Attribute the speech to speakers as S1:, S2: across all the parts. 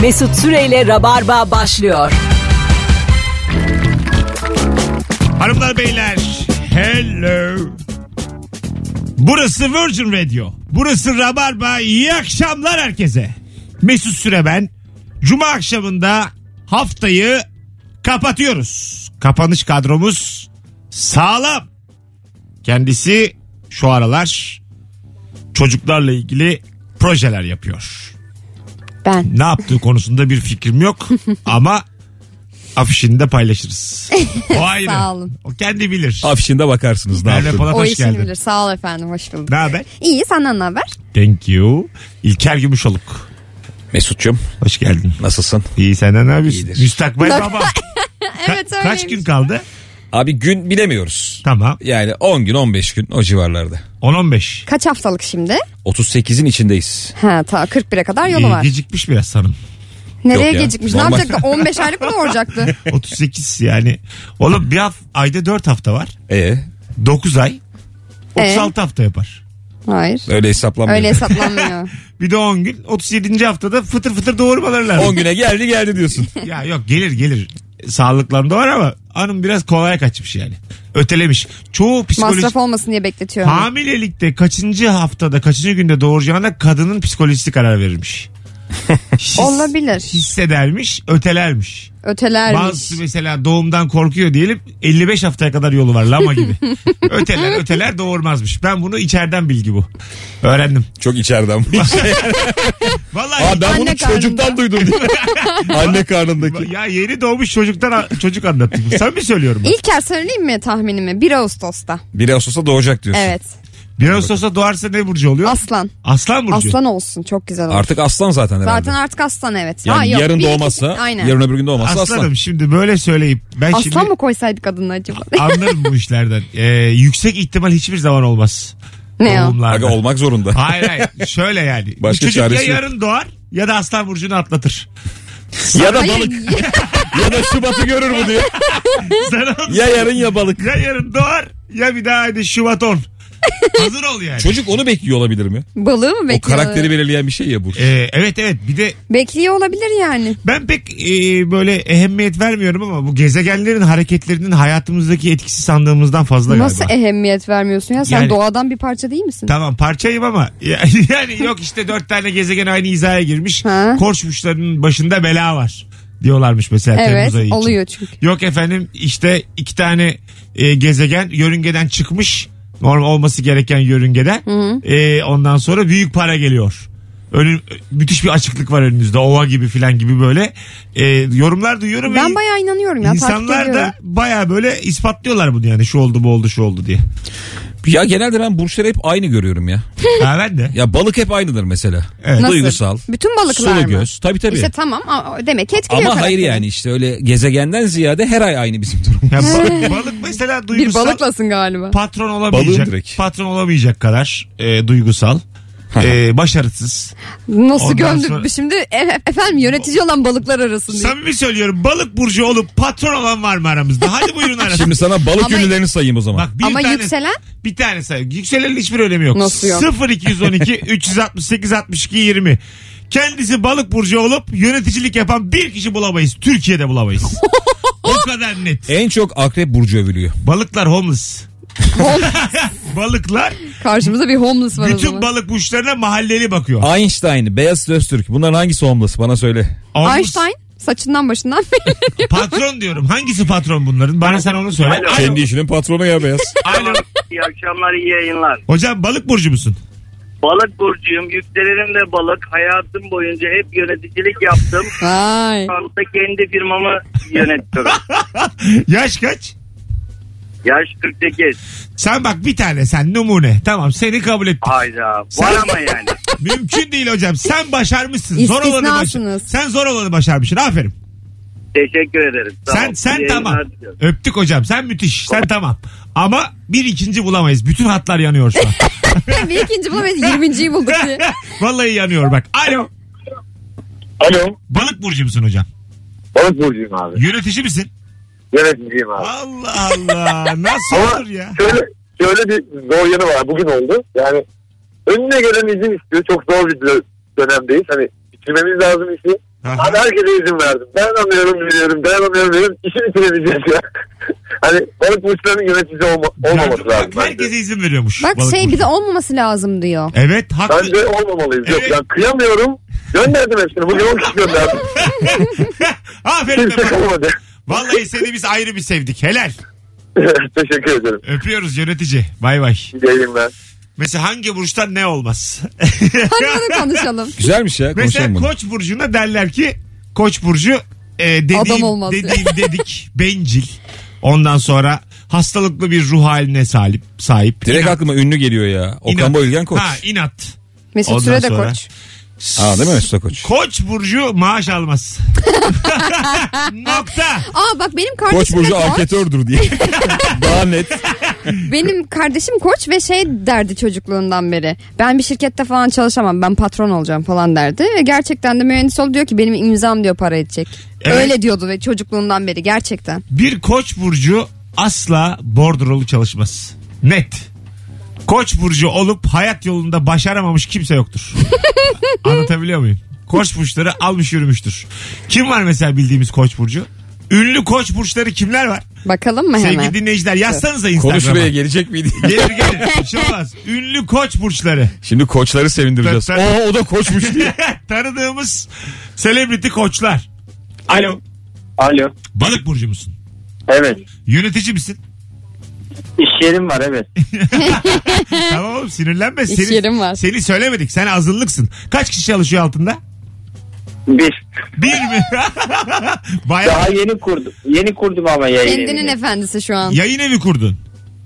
S1: Mesut Süreyle Rabarba başlıyor.
S2: Hanımlar beyler. Hello. Burası Virgin Radio. Burası Rabarba. İyi akşamlar herkese. Mesut Süre ben. Cuma akşamında haftayı kapatıyoruz. Kapanış kadromuz sağlam. Kendisi şu aralar çocuklarla ilgili projeler yapıyor.
S3: Ben.
S2: Ne yaptığı konusunda bir fikrim yok ama afişini de paylaşırız. O ayrı.
S3: Sağ olun.
S2: O kendi bilir.
S4: Afişinde bakarsınız ne
S2: Merve
S4: yaptın.
S2: Polat
S3: O
S2: hoş
S3: işini
S2: geldin.
S3: bilir. Sağ ol efendim. Hoş bulduk.
S2: Ne haber?
S3: İyi senden ne haber?
S2: Thank you. İlker Gümüşoluk.
S4: Mesut'cum
S2: Hoş geldin.
S4: nasılsın?
S2: İyi senden ne yapıyorsun?
S4: İyidir.
S2: Müstakbel baba.
S3: Evet öyleymiş.
S2: Kaç gün kaldı?
S4: Abi gün bilemiyoruz.
S2: Tamam.
S4: Yani 10 gün 15 gün o civarlarda.
S2: 10-15.
S3: Kaç haftalık şimdi?
S4: 38'in içindeyiz.
S3: Ha ta 41'e kadar yolu
S2: Ee,
S3: var.
S2: gecikmiş biraz sanırım.
S3: Nereye
S4: Yok ya,
S3: gecikmiş?
S4: normal.
S3: Ne yapacaktı? 15 aylık mı doğuracaktı?
S2: 38 yani. Oğlum bir hafta, ayda 4 hafta var.
S4: E
S2: 9 ay.
S3: Ee?
S2: 36 hafta yapar.
S3: Hayır.
S4: öyle hesaplanmıyor.
S3: Öyle hesaplanmıyor.
S2: Bir de 10 gün. 37. haftada fıtır fıtır doğurmaları lazım.
S4: 10 güne geldi geldi diyorsun.
S2: Ya yok gelir gelir. Sağlıklarında var ama hanım biraz kolaya kaçmış yani. Ötelemiş. Çoğu psikolojik...
S3: Masraf olmasın diye bekletiyorum.
S2: Hamilelikte kaçıncı haftada kaçıncı günde doğuracağına kadının psikolojisi karar verilmiş. His-
S3: Olabilir.
S2: Hissedermiş, ötelermiş.
S3: Ötelermiş.
S2: Bazısı mesela doğumdan korkuyor diyelim 55 haftaya kadar yolu var lama gibi. öteler öteler doğurmazmış. Ben bunu içeriden bilgi bu. Öğrendim.
S4: Çok içeriden.
S2: Vallahi
S4: Aa, ben
S3: Anne
S4: bunu çocuktan duydum. Anne karnındaki.
S2: ya yeni doğmuş çocuktan çocuk anlattım. Sen mi söylüyorum? ben?
S3: İlker söyleyeyim mi tahminimi? 1 Ağustos'ta.
S4: 1 Ağustos'ta doğacak diyorsun.
S3: Evet.
S2: Bir Ağustos'ta doğarsa ne burcu oluyor?
S3: Aslan.
S2: Aslan burcu.
S3: Aslan olsun. Çok güzel olur.
S4: Artık aslan zaten herhalde.
S3: Zaten artık aslan evet.
S4: yani
S3: Ha, yok,
S4: yarın
S3: bir iki-
S4: doğmazsa,
S3: Aynen.
S4: yarın öbür gün doğmazsa
S2: Aslanım
S4: aslan.
S2: şimdi böyle söyleyip ben
S3: Aslan
S2: şimdi
S3: mı koysaydık adını acaba?
S2: anlarım bu işlerden. Ee, yüksek ihtimal hiçbir zaman olmaz.
S3: ne o?
S2: Doğumlarda.
S4: Aga olmak zorunda.
S2: Hayır hayır şöyle yani.
S4: Başka
S2: Bu çocuk ya
S4: çaresi yok.
S2: yarın doğar ya da aslan burcunu atlatır.
S4: ya da
S3: Hayır,
S4: balık ya da Şubat'ı görür bu diyor.
S2: Sana onu-
S4: Ya yarın ya balık.
S2: ya yarın doğar ya bir daha hadi Şubat 10. Hazır ol yani.
S4: Çocuk onu bekliyor olabilir mi?
S3: Balığı mı
S4: O
S3: bekliyor?
S4: karakteri belirleyen bir şey ya bu.
S2: Ee, evet evet bir de
S3: Bekliyor olabilir yani.
S2: ben pek e, böyle ehemmiyet vermiyorum ama bu gezegenlerin hareketlerinin hayatımızdaki etkisi sandığımızdan fazla
S3: Nasıl
S2: galiba.
S3: ehemmiyet vermiyorsun ya? Sen
S2: Yani-
S3: doğadan bir parça değil misin?
S2: Tamam parçayım ama ya- yani yok işte dört tane gezegen aynı hizaya girmiş.
S3: Ha.
S2: Korç burçlarının başında bela var diyorlarmış mesela
S3: evet
S2: Temmuz ayı için.
S3: oluyor çünkü.
S2: Yok efendim işte iki tane e, gezegen yörüngeden çıkmış. Normal olması gereken yörüngeden. E, ondan sonra büyük para geliyor. Önüm, müthiş bir açıklık var önünüzde. Ova gibi filan gibi böyle. E, yorumlar duyuyorum. ve
S3: Ben bayağı inanıyorum ya. takip
S2: insanlar
S3: ediyorum.
S2: da bayağı böyle ispatlıyorlar bunu yani. Şu oldu bu oldu şu oldu diye.
S4: Ya genelde ben burçları hep aynı görüyorum ya.
S2: ha, ben de.
S4: Ya balık hep aynıdır mesela.
S2: Evet.
S3: Nasıl?
S4: E, Duygusal.
S3: Bütün balıklar
S4: Sulu
S3: mı?
S4: göz. Tabii tabii.
S3: İşte tamam a- demek ki etkiliyor.
S4: Ama hayır
S3: karakteri.
S4: yani işte öyle gezegenden ziyade her ay aynı bizim durum.
S2: Ya balık, balık mesela
S3: Bir
S2: duygusal.
S3: balıklasın galiba.
S2: patron
S4: Balığın
S2: olamayacak.
S4: direkt.
S2: Patron olamayacak kadar e, duygusal. e, başarısız.
S3: Nasıl
S2: Ondan
S3: gömdük
S2: sonra-
S3: şimdi e- efendim yönetici olan balıklar arasında.
S2: Samimi söylüyorum balık burcu olup patron olan var mı aramızda? Hadi buyurun arasın.
S4: Şimdi sana balık
S3: Ama-
S4: ünlülerini sayayım o zaman.
S2: Bak bir
S3: Ama
S2: tane,
S3: yükselen
S2: bir tane say. Yükselenin hiçbir önemi yok.
S3: Nasıl yok?
S2: 0 212 368 62 20. Kendisi balık burcu olup yöneticilik yapan bir kişi bulamayız. Türkiye'de bulamayız. o kadar net.
S4: En çok akrep burcu övülüyor.
S2: Balıklar homeless. Balıklar
S3: karşımıza bir homeless var o
S2: bütün
S3: zaman.
S2: balık burçlarına mahalleli bakıyor.
S4: Einstein, Beyaz Öztürk. Bunların hangisi homeless bana söyle.
S2: Homeless.
S3: Einstein saçından başından belli.
S2: Patron diyorum. Hangisi patron bunların? Bana sen onu söyle.
S5: Alo.
S4: Kendi işinin patronu ya Beyaz.
S2: Alo.
S5: İyi akşamlar, iyi yayınlar.
S2: Hocam balık burcu musun?
S5: Balık burcuyum, yükselenim de balık. Hayatım boyunca hep yöneticilik yaptım.
S3: Vay.
S5: Şu anda kendi firmamı yönetiyorum.
S2: Yaş kaç?
S5: Yaş 48.
S2: Sen bak bir tane sen numune. Tamam seni kabul ettim.
S5: Hayda. Var
S2: Sen-
S5: ama yani.
S2: Mümkün değil hocam. Sen başarmışsın. Zor olanı başarmışsın.
S3: İstisnasınız.
S2: Sen zor olanı başarmışsın. Aferin.
S5: Teşekkür ederim. Sağ
S2: sen
S5: ol.
S2: sen
S5: İyi
S2: tamam.
S5: yayınlar diliyorum.
S2: Öptük hocam. Sen müthiş. Sen tamam. Ama bir ikinci bulamayız. Bütün hatlar yanıyor şu an.
S3: bir ikinci bulamayız 20.yi bulduk diye.
S2: Vallahi yanıyor bak. Alo.
S6: Alo.
S2: Balık burcu musun hocam?
S6: Balık burcuyum abi.
S2: Yönetici misin?
S6: Yöneticiyim abi.
S2: Allah Allah. Nasıl
S6: Ama
S2: olur ya?
S6: şöyle, şöyle bir zor yanı var. Bugün oldu. Yani önüne gelen izin istiyor. Çok zor bir dö- dönemdeyiz. Hani bitirmemiz lazım işi.
S2: Aha.
S6: Abi herkese izin verdim. Dayanamıyorum diyorum. Dayanamıyorum diyorum. İşi bitiremeyeceğiz ya. hani balık burçlarının yöneticisi olma, olmaması lazım.
S2: Bak, herkese izin veriyormuş.
S3: Bak
S2: balık
S3: şey
S2: burcu.
S3: bir de olmaması lazım diyor.
S2: Evet haklı.
S6: Bence olmamalıyız. Yok
S2: Evet.
S6: ben kıyamıyorum. Gönderdim hepsini. Bugün 10 kişi gönderdim.
S2: Aferin
S6: Kimse
S2: efendim.
S6: kalmadı.
S2: Vallahi seni biz ayrı bir sevdik. Helal.
S6: Teşekkür ederim.
S2: Öpüyoruz yönetici. Bay bay.
S6: İyi yayınlar.
S2: Mesela hangi burçtan ne olmaz?
S3: Hadi bunu konuşalım.
S4: Güzelmiş ya
S2: Mesela
S4: konuşalım bunu.
S2: koç burcuna derler ki koç burcu e, dediğim,
S3: Adam olmaz
S2: dediğim dedik bencil. Ondan sonra hastalıklı bir ruh haline sahip. sahip.
S4: Direkt
S2: İnat-
S4: aklıma ünlü geliyor ya. Okan
S2: inat.
S4: Bayülgen koç.
S2: Ha inat.
S3: Mesut
S2: Ondan
S3: Süre de
S2: sonra-
S3: koç.
S4: Aa değil mi Mesut Koç?
S2: Koç burcu maaş almaz. Nokta.
S3: Aa bak benim kardeşim
S4: Koç
S3: de
S4: burcu
S3: koç.
S4: anketördür diye. Daha net.
S3: Benim kardeşim koç ve şey derdi çocukluğundan beri. Ben bir şirkette falan çalışamam. Ben patron olacağım falan derdi. Ve gerçekten de mühendis ol diyor ki benim imzam diyor para edecek.
S2: Evet.
S3: Öyle diyordu ve çocukluğundan beri gerçekten.
S2: Bir koç burcu asla bordrolu çalışmaz. Net. Koç burcu olup hayat yolunda başaramamış kimse yoktur. Anlatabiliyor muyum? Koç burçları almış yürümüştür. Kim var mesela bildiğimiz koç burcu? Ünlü koç burçları kimler var?
S3: Bakalım mı hemen?
S2: Sevgili dinleyiciler yazsanıza
S4: Konuşmaya
S2: Instagram'a.
S4: gelecek miydi?
S2: Gelir gelir. Bir şey olmaz. Ünlü koç burçları.
S4: Şimdi koçları sevindireceğiz.
S2: Tabii, tabii.
S4: Oo o da koçmuş diye.
S2: Tanıdığımız selebriti koçlar. Alo.
S5: Alo.
S2: Balık burcu musun?
S5: Evet.
S2: Yönetici misin?
S5: İş yerim var evet.
S2: Tamam oğlum sinirlenme.
S3: İş yerim var.
S2: Seni söylemedik. Sen azınlıksın. Kaç kişi çalışıyor altında?
S5: Bir.
S2: Bir mi? Bayağı
S5: Daha yeni kurdum. Yeni kurdum ama yayın
S3: Kendinin
S5: evini.
S3: efendisi şu an.
S2: yayın evi kurdun.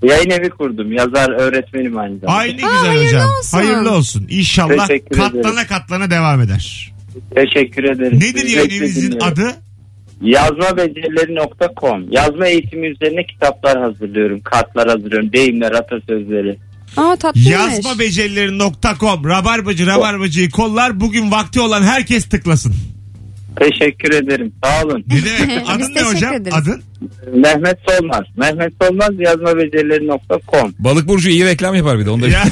S5: Yayın evi kurdum. Yazar öğretmenim aynı zamanda.
S2: Ay ne
S3: Aa,
S2: güzel
S3: hayırlı
S2: hocam.
S3: olsun.
S2: Hayırlı olsun. İnşallah
S5: Teşekkür
S2: katlana
S5: ederim.
S2: katlana devam eder.
S5: Teşekkür ederim.
S2: Nedir
S5: Sizi
S2: yayın
S5: bekle
S2: evinizin
S5: dinliyorum.
S2: adı?
S5: Yazma becerileri.com. Yazma eğitimi üzerine kitaplar hazırlıyorum. Kartlar hazırlıyorum. Deyimler, atasözleri.
S3: Aa tatlıymış.
S2: Yazmabecerileri.com Rabarbacı Rabarbacı'yı kollar. Bugün vakti olan herkes tıklasın.
S5: Teşekkür ederim. Sağ olun.
S2: Ne demek?
S3: Biz
S2: Adın ne
S3: teşekkür
S2: hocam?
S3: ederiz.
S2: Adın?
S5: Mehmet Solmaz. Mehmet Solmaz yazma becerileri.com.
S4: Balık burcu iyi reklam yapar bir de. Onda
S2: Ya.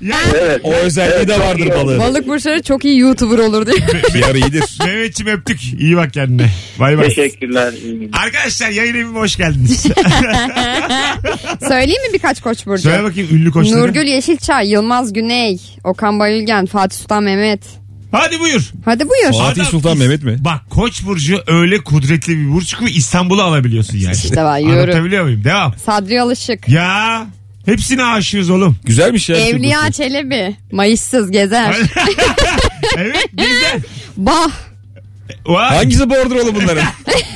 S2: ya.
S5: Evet.
S4: O özelliği de vardır balığın.
S3: Balık burçları çok iyi YouTuber olur diye.
S4: PR iyidir.
S2: Mehmetciğim öptük. İyi bak kendine. Bay bay.
S5: Teşekkürler. iyi günler.
S2: Arkadaşlar yayın evime hoş geldiniz.
S3: Söyleyeyim mi birkaç koç burcu?
S2: Söyle bakayım ünlü koçları.
S3: Nurgül Yeşilçay, Yılmaz Güney, Okan Bayülgen, Fatih Sultan Mehmet.
S2: Hadi buyur.
S3: Hadi buyur.
S4: Aa. Fatih
S2: Adam
S4: Sultan
S2: is-
S4: Mehmet mi?
S2: Bak Koç Burcu öyle kudretli bir burç ki İstanbul'u alabiliyorsun yani.
S3: İşte var, yürü.
S2: Anlatabiliyor muyum? Devam.
S3: Sadri Alışık.
S2: Ya hepsine aşığız oğlum.
S4: Güzelmiş ya.
S3: Evliya Çelebi. Mayışsız gezer.
S2: evet güzel.
S3: bah.
S2: Vay.
S4: Hangisi bordrolu bunların?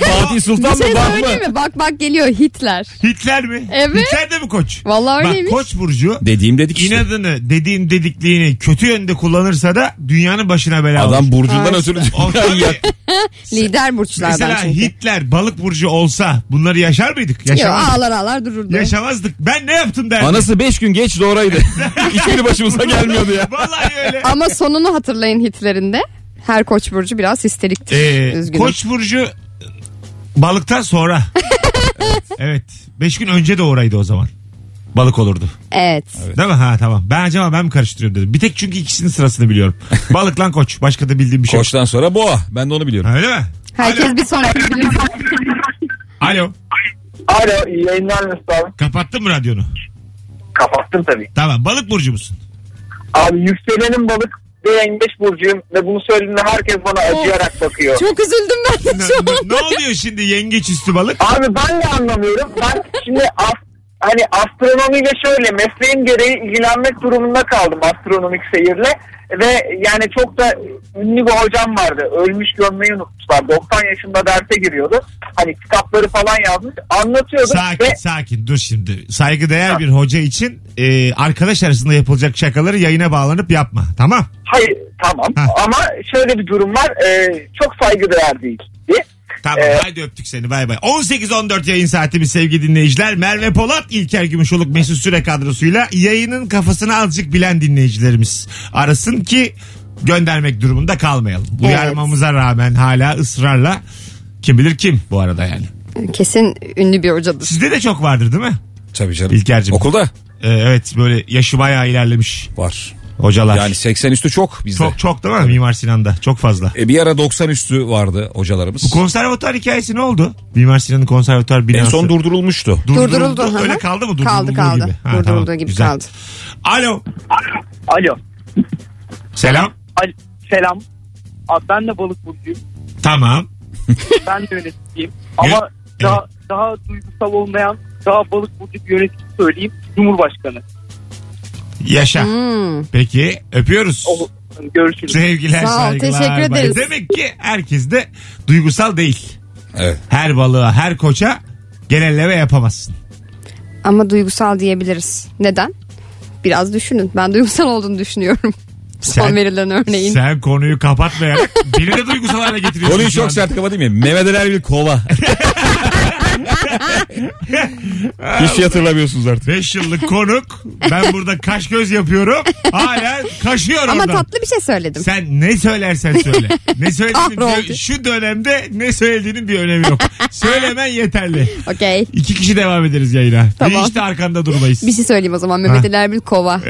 S4: Fatih Sultan
S3: Bir
S4: mı?
S3: şey
S4: Bak mı?
S3: söyleyeyim mi? Bak bak geliyor Hitler.
S2: Hitler mi?
S3: Evet.
S2: Hitler de mi koç?
S3: Vallahi
S2: Bak
S3: öyleymiş.
S2: Koç Burcu
S4: Dediğim dedik işte.
S2: inadını dediğin dedikliğini kötü yönde kullanırsa da dünyanın başına bela olur.
S4: Adam burcundan
S3: Ay
S4: ötürü
S2: O tabii.
S4: dünyayı
S3: Lider burçlardan
S2: Mesela
S3: çünkü.
S2: Hitler balık burcu olsa bunları yaşar mıydık?
S3: Yo,
S2: Yaşamazdık.
S3: ağlar ağlar dururdu.
S2: Yaşamazdık. Ben ne yaptım derdim.
S4: Anası 5 gün geç doğraydı. Hiçbiri başımıza gelmiyordu ya.
S2: Vallahi öyle.
S3: Ama sonunu hatırlayın Hitler'inde. Her koç burcu biraz histeriktir.
S2: Ee,
S3: Üzgünüm.
S2: Koç burcu balıktan sonra. evet. 5 gün önce de oraydı o zaman. Balık olurdu.
S3: Evet.
S2: Değil mi? Ha tamam. Ben acaba ben mi karıştırıyorum dedim. Bir tek çünkü ikisinin sırasını biliyorum. Balık lan koç. Başka da bildiğim bir şey yok.
S4: Koçtan sonra boğa. Ben de onu biliyorum.
S2: Öyle mi?
S3: Herkes bir sonraki bilir.
S2: Alo.
S6: Alo iyi yayınlar Mesut abi.
S2: Kapattın mı radyonu?
S6: Kapattım tabii.
S2: Tamam. Balık burcu musun?
S6: Abi yükselenim balık ve yengeç burcuyum ve bunu söylediğinde herkes bana acıyarak bakıyor.
S3: Çok üzüldüm ben
S2: Ne,
S3: de şu an.
S2: ne- ne oluyor şimdi yengeç üstü balık?
S6: Abi ben de anlamıyorum. Ben şimdi as- hani astronomiyle şöyle mesleğim gereği ilgilenmek durumunda kaldım astronomik seyirle. Ve yani çok da ünlü bir hocam vardı. Ölmüş gömmeyi unutmuşlar. 90 yaşında derse giriyordu. Hani kitapları falan yazmış. Anlatıyordu.
S2: Sakin
S6: Ve
S2: sakin dur şimdi. Saygıdeğer bir hoca için e, arkadaş arasında yapılacak şakaları yayına bağlanıp yapma. Tamam.
S6: hayır tamam
S2: Ha.
S6: ama şöyle bir durum var. Ee, çok saygıdeğer değil.
S2: Tamam
S6: Ee,
S2: haydi öptük seni bay bay. 18-14 yayın saatimiz sevgili dinleyiciler. Merve Polat, İlker Gümüşoluk, Mesut Süre kadrosuyla yayının kafasını azıcık bilen dinleyicilerimiz arasın ki göndermek durumunda kalmayalım. Uyarmamıza rağmen hala ısrarla kim bilir kim bu arada yani.
S3: Kesin ünlü bir hocadır.
S2: Sizde de çok vardır değil mi?
S4: Tabii canım.
S2: İlker'cim.
S4: Okulda
S2: Ee, evet böyle yaşı bayağı ilerlemiş.
S4: var.
S2: Hocalar.
S4: Yani 80 üstü çok bizde.
S2: çok çok değil mi Mimar Sinan'da? Çok fazla.
S4: E, bir ara 90 üstü vardı hocalarımız.
S2: Bu konservatuar hikayesi ne oldu? Mimar Sinan'ın konservatuar
S4: en
S2: binası.
S4: son durdurulmuştu.
S3: Durduruldu. hı hı.
S2: Öyle kaldı mı?
S3: Kaldı
S2: Durdurulduğu
S3: kaldı.
S2: Gibi. Ha,
S3: Durdurulduğu
S2: tamam,
S3: gibi
S2: güzel.
S3: kaldı.
S2: Alo.
S7: Alo.
S2: Selam.
S7: Al- selam. Abi ben de balık burcuyum.
S2: Tamam.
S7: Ben de yöneticiyim. Ama daha, daha duygusal olmayan, daha balık burcu bir yönetici söyleyeyim. Cumhurbaşkanı.
S2: Yaşa.
S3: Hmm.
S2: Peki öpüyoruz.
S7: O, görüşürüz.
S2: Sevgiler
S3: Sağ ol,
S2: saygılar.
S3: teşekkür
S2: Bay-
S3: ederiz.
S2: Demek ki herkes de duygusal değil.
S4: Evet.
S2: Her balığa her koça genelleme yapamazsın.
S3: Ama duygusal diyebiliriz. Neden? Biraz düşünün. Ben duygusal olduğunu düşünüyorum. Son verilen örneğin.
S2: sen konuyu kapatmayarak beni de duygusal hale getiriyorsun.
S4: Konuyu
S2: şu
S4: çok
S2: anda.
S4: sert kapatayım ya. Mehmet Ali Erbil kova. Hiç şey hatırlamıyorsunuz artık.
S2: Beş yıllık konuk. Ben burada kaş göz yapıyorum. Hala kaşıyor
S3: Ama
S2: oradan.
S3: tatlı bir şey söyledim.
S2: Sen ne söylersen söyle. Ne söylediğinin
S3: Kahroldu.
S2: bir- şu dönemde ne söylediğinin bir önemi yok. Söylemen yeterli.
S3: Okey.
S2: İki kişi devam ederiz yayına.
S3: Tamam.
S2: Bir işte arkanda durmayız.
S3: Bir şey söyleyeyim o zaman. Mehmet Ali Erbil kova.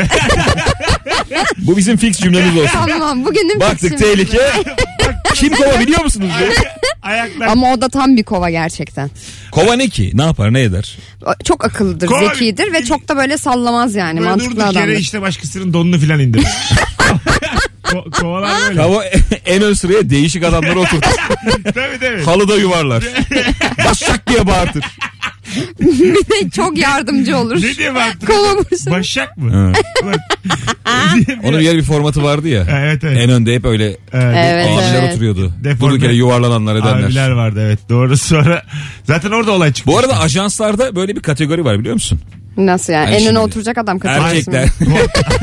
S4: Bu bizim fix cümlemiz olsun.
S3: tamam bugünün
S4: Baktık
S3: fikri-
S4: tehlike. Kim kova biliyor musunuz? diye.
S2: Ayaklar
S3: Ama o da tam bir kova gerçekten.
S4: kova ne ki? Ne yapar ne eder?
S3: O- Çok akıllıdır,
S2: Kova-
S3: zekidir ve çok da böyle sallamaz yani.
S2: böyle
S3: Mantıklı
S2: durduk yere
S3: adamdır.
S2: işte başkasının donunu filan indir. Ko- kovalar böyle.
S4: Kova en ön sıraya değişik adamları oturtur.
S2: tabii tabii.
S4: Halıda yuvarlar. Başak diye bağırtır.
S3: çok yardımcı olur.
S2: Ne diye baktın?
S3: Kova bursu.
S2: Başak mı?
S4: Onun bir yer bir formatı vardı ya.
S2: Evet, evet.
S4: En önde hep öyle
S3: Evet,
S4: abiler
S3: evet.
S4: oturuyordu.
S2: Deforme.
S4: Durduk yere yuvarlananlar edenler.
S2: Ee, Abiler vardı evet doğru sonra zaten orada olay çıktı.
S4: Bu arada ajanslarda böyle bir kategori var biliyor musun?
S3: Nasıl yani?
S4: Ay
S3: en
S4: şimdi.
S3: öne oturacak adam kaçırmasın.
S4: Erkekler,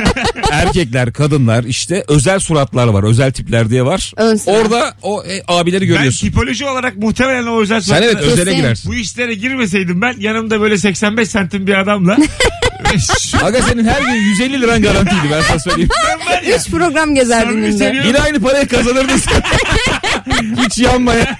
S4: erkekler, kadınlar işte özel suratlar var, özel tipler diye var.
S3: Ön sıra.
S4: Orada o e, abileri
S2: ben
S4: görüyorsun.
S2: tipoloji olarak muhtemelen o özel
S4: Sen evet
S2: sokakta-
S4: özele
S3: Kesin.
S4: girersin.
S2: bu işlere girmeseydim ben yanımda böyle 85 santim bir adamla Şu-
S4: Aga senin her gün 150 liran garantiydi ben sana söyleyeyim.
S2: ben var ya,
S3: Üç program gezer
S2: samimi
S3: günde.
S2: söylüyorum.
S4: Yine aynı parayı kazanırdın sen. Hiç yanmaya.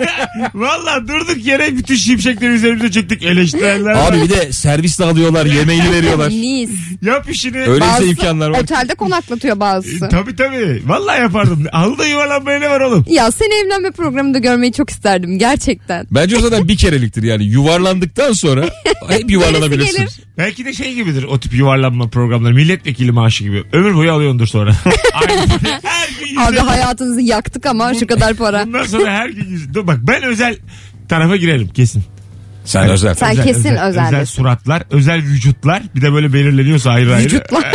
S2: Valla durduk yere bütün şimşekleri üzerimize çektik eleştiriler. var.
S4: Abi bir de servisle alıyorlar, yemeğini veriyorlar.
S3: Nice.
S2: Yap işini. E,
S4: Öyleyse
S3: Bazısı
S4: imkanlar var. E,
S3: Otelde konaklatıyor bazısı.
S2: Tabii tabii. Valla yapardım. Halıda yuvarlanmaya ne var oğlum?
S3: Ya seni evlenme programında görmeyi çok isterdim gerçekten.
S4: Bence o zaten bir kereliktir yani. Yuvarlandıktan sonra hep
S3: Gerisi
S4: yuvarlanabilirsin.
S3: gelir.
S2: Belki de şey gibidir o tip yuvarlanma programları. Milletvekili maaşı gibi. Ömür boyu alıyordur sonra. Aynı. Her gün yüz
S3: Abi
S2: elli.
S3: hayatınızı yaktık ama şu kadar para.
S2: Bundan sonra her gün yüz- Dur bak ben özel tarafa girerim kesin.
S4: Sen özel.
S3: Sen kesin özel.
S2: Özel suratlar, özel vücutlar. Bir de böyle belirleniyorsa ayrı ayrı. Vücutlar.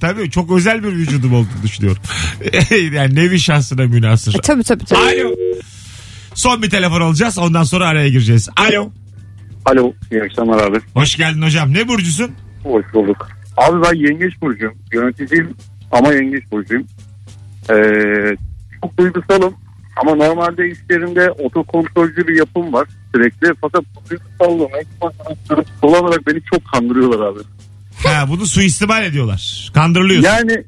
S2: Tabii çok özel bir vücudum olduğunu düşünüyorum. yani nevi şahsına münasır.
S3: E, tabii tabii tabii.
S2: Alo. Son bir telefon alacağız. Ondan sonra araya gireceğiz. Alo.
S8: Alo, iyi akşamlar abi.
S2: Hoş geldin hocam. Ne burcusun?
S8: Hoş bulduk. Abi ben yengeç burcuyum. Yöneticiyim ama yengeç burcuyum. Ee, çok duygusalım ama normalde işlerimde otokontrolcü bir yapım var sürekli. Fakat bu duygusallığımı ekspansiyonu kullanarak beni çok kandırıyorlar abi.
S2: Ha, bunu suistimal ediyorlar. Kandırılıyorsun.
S8: Yani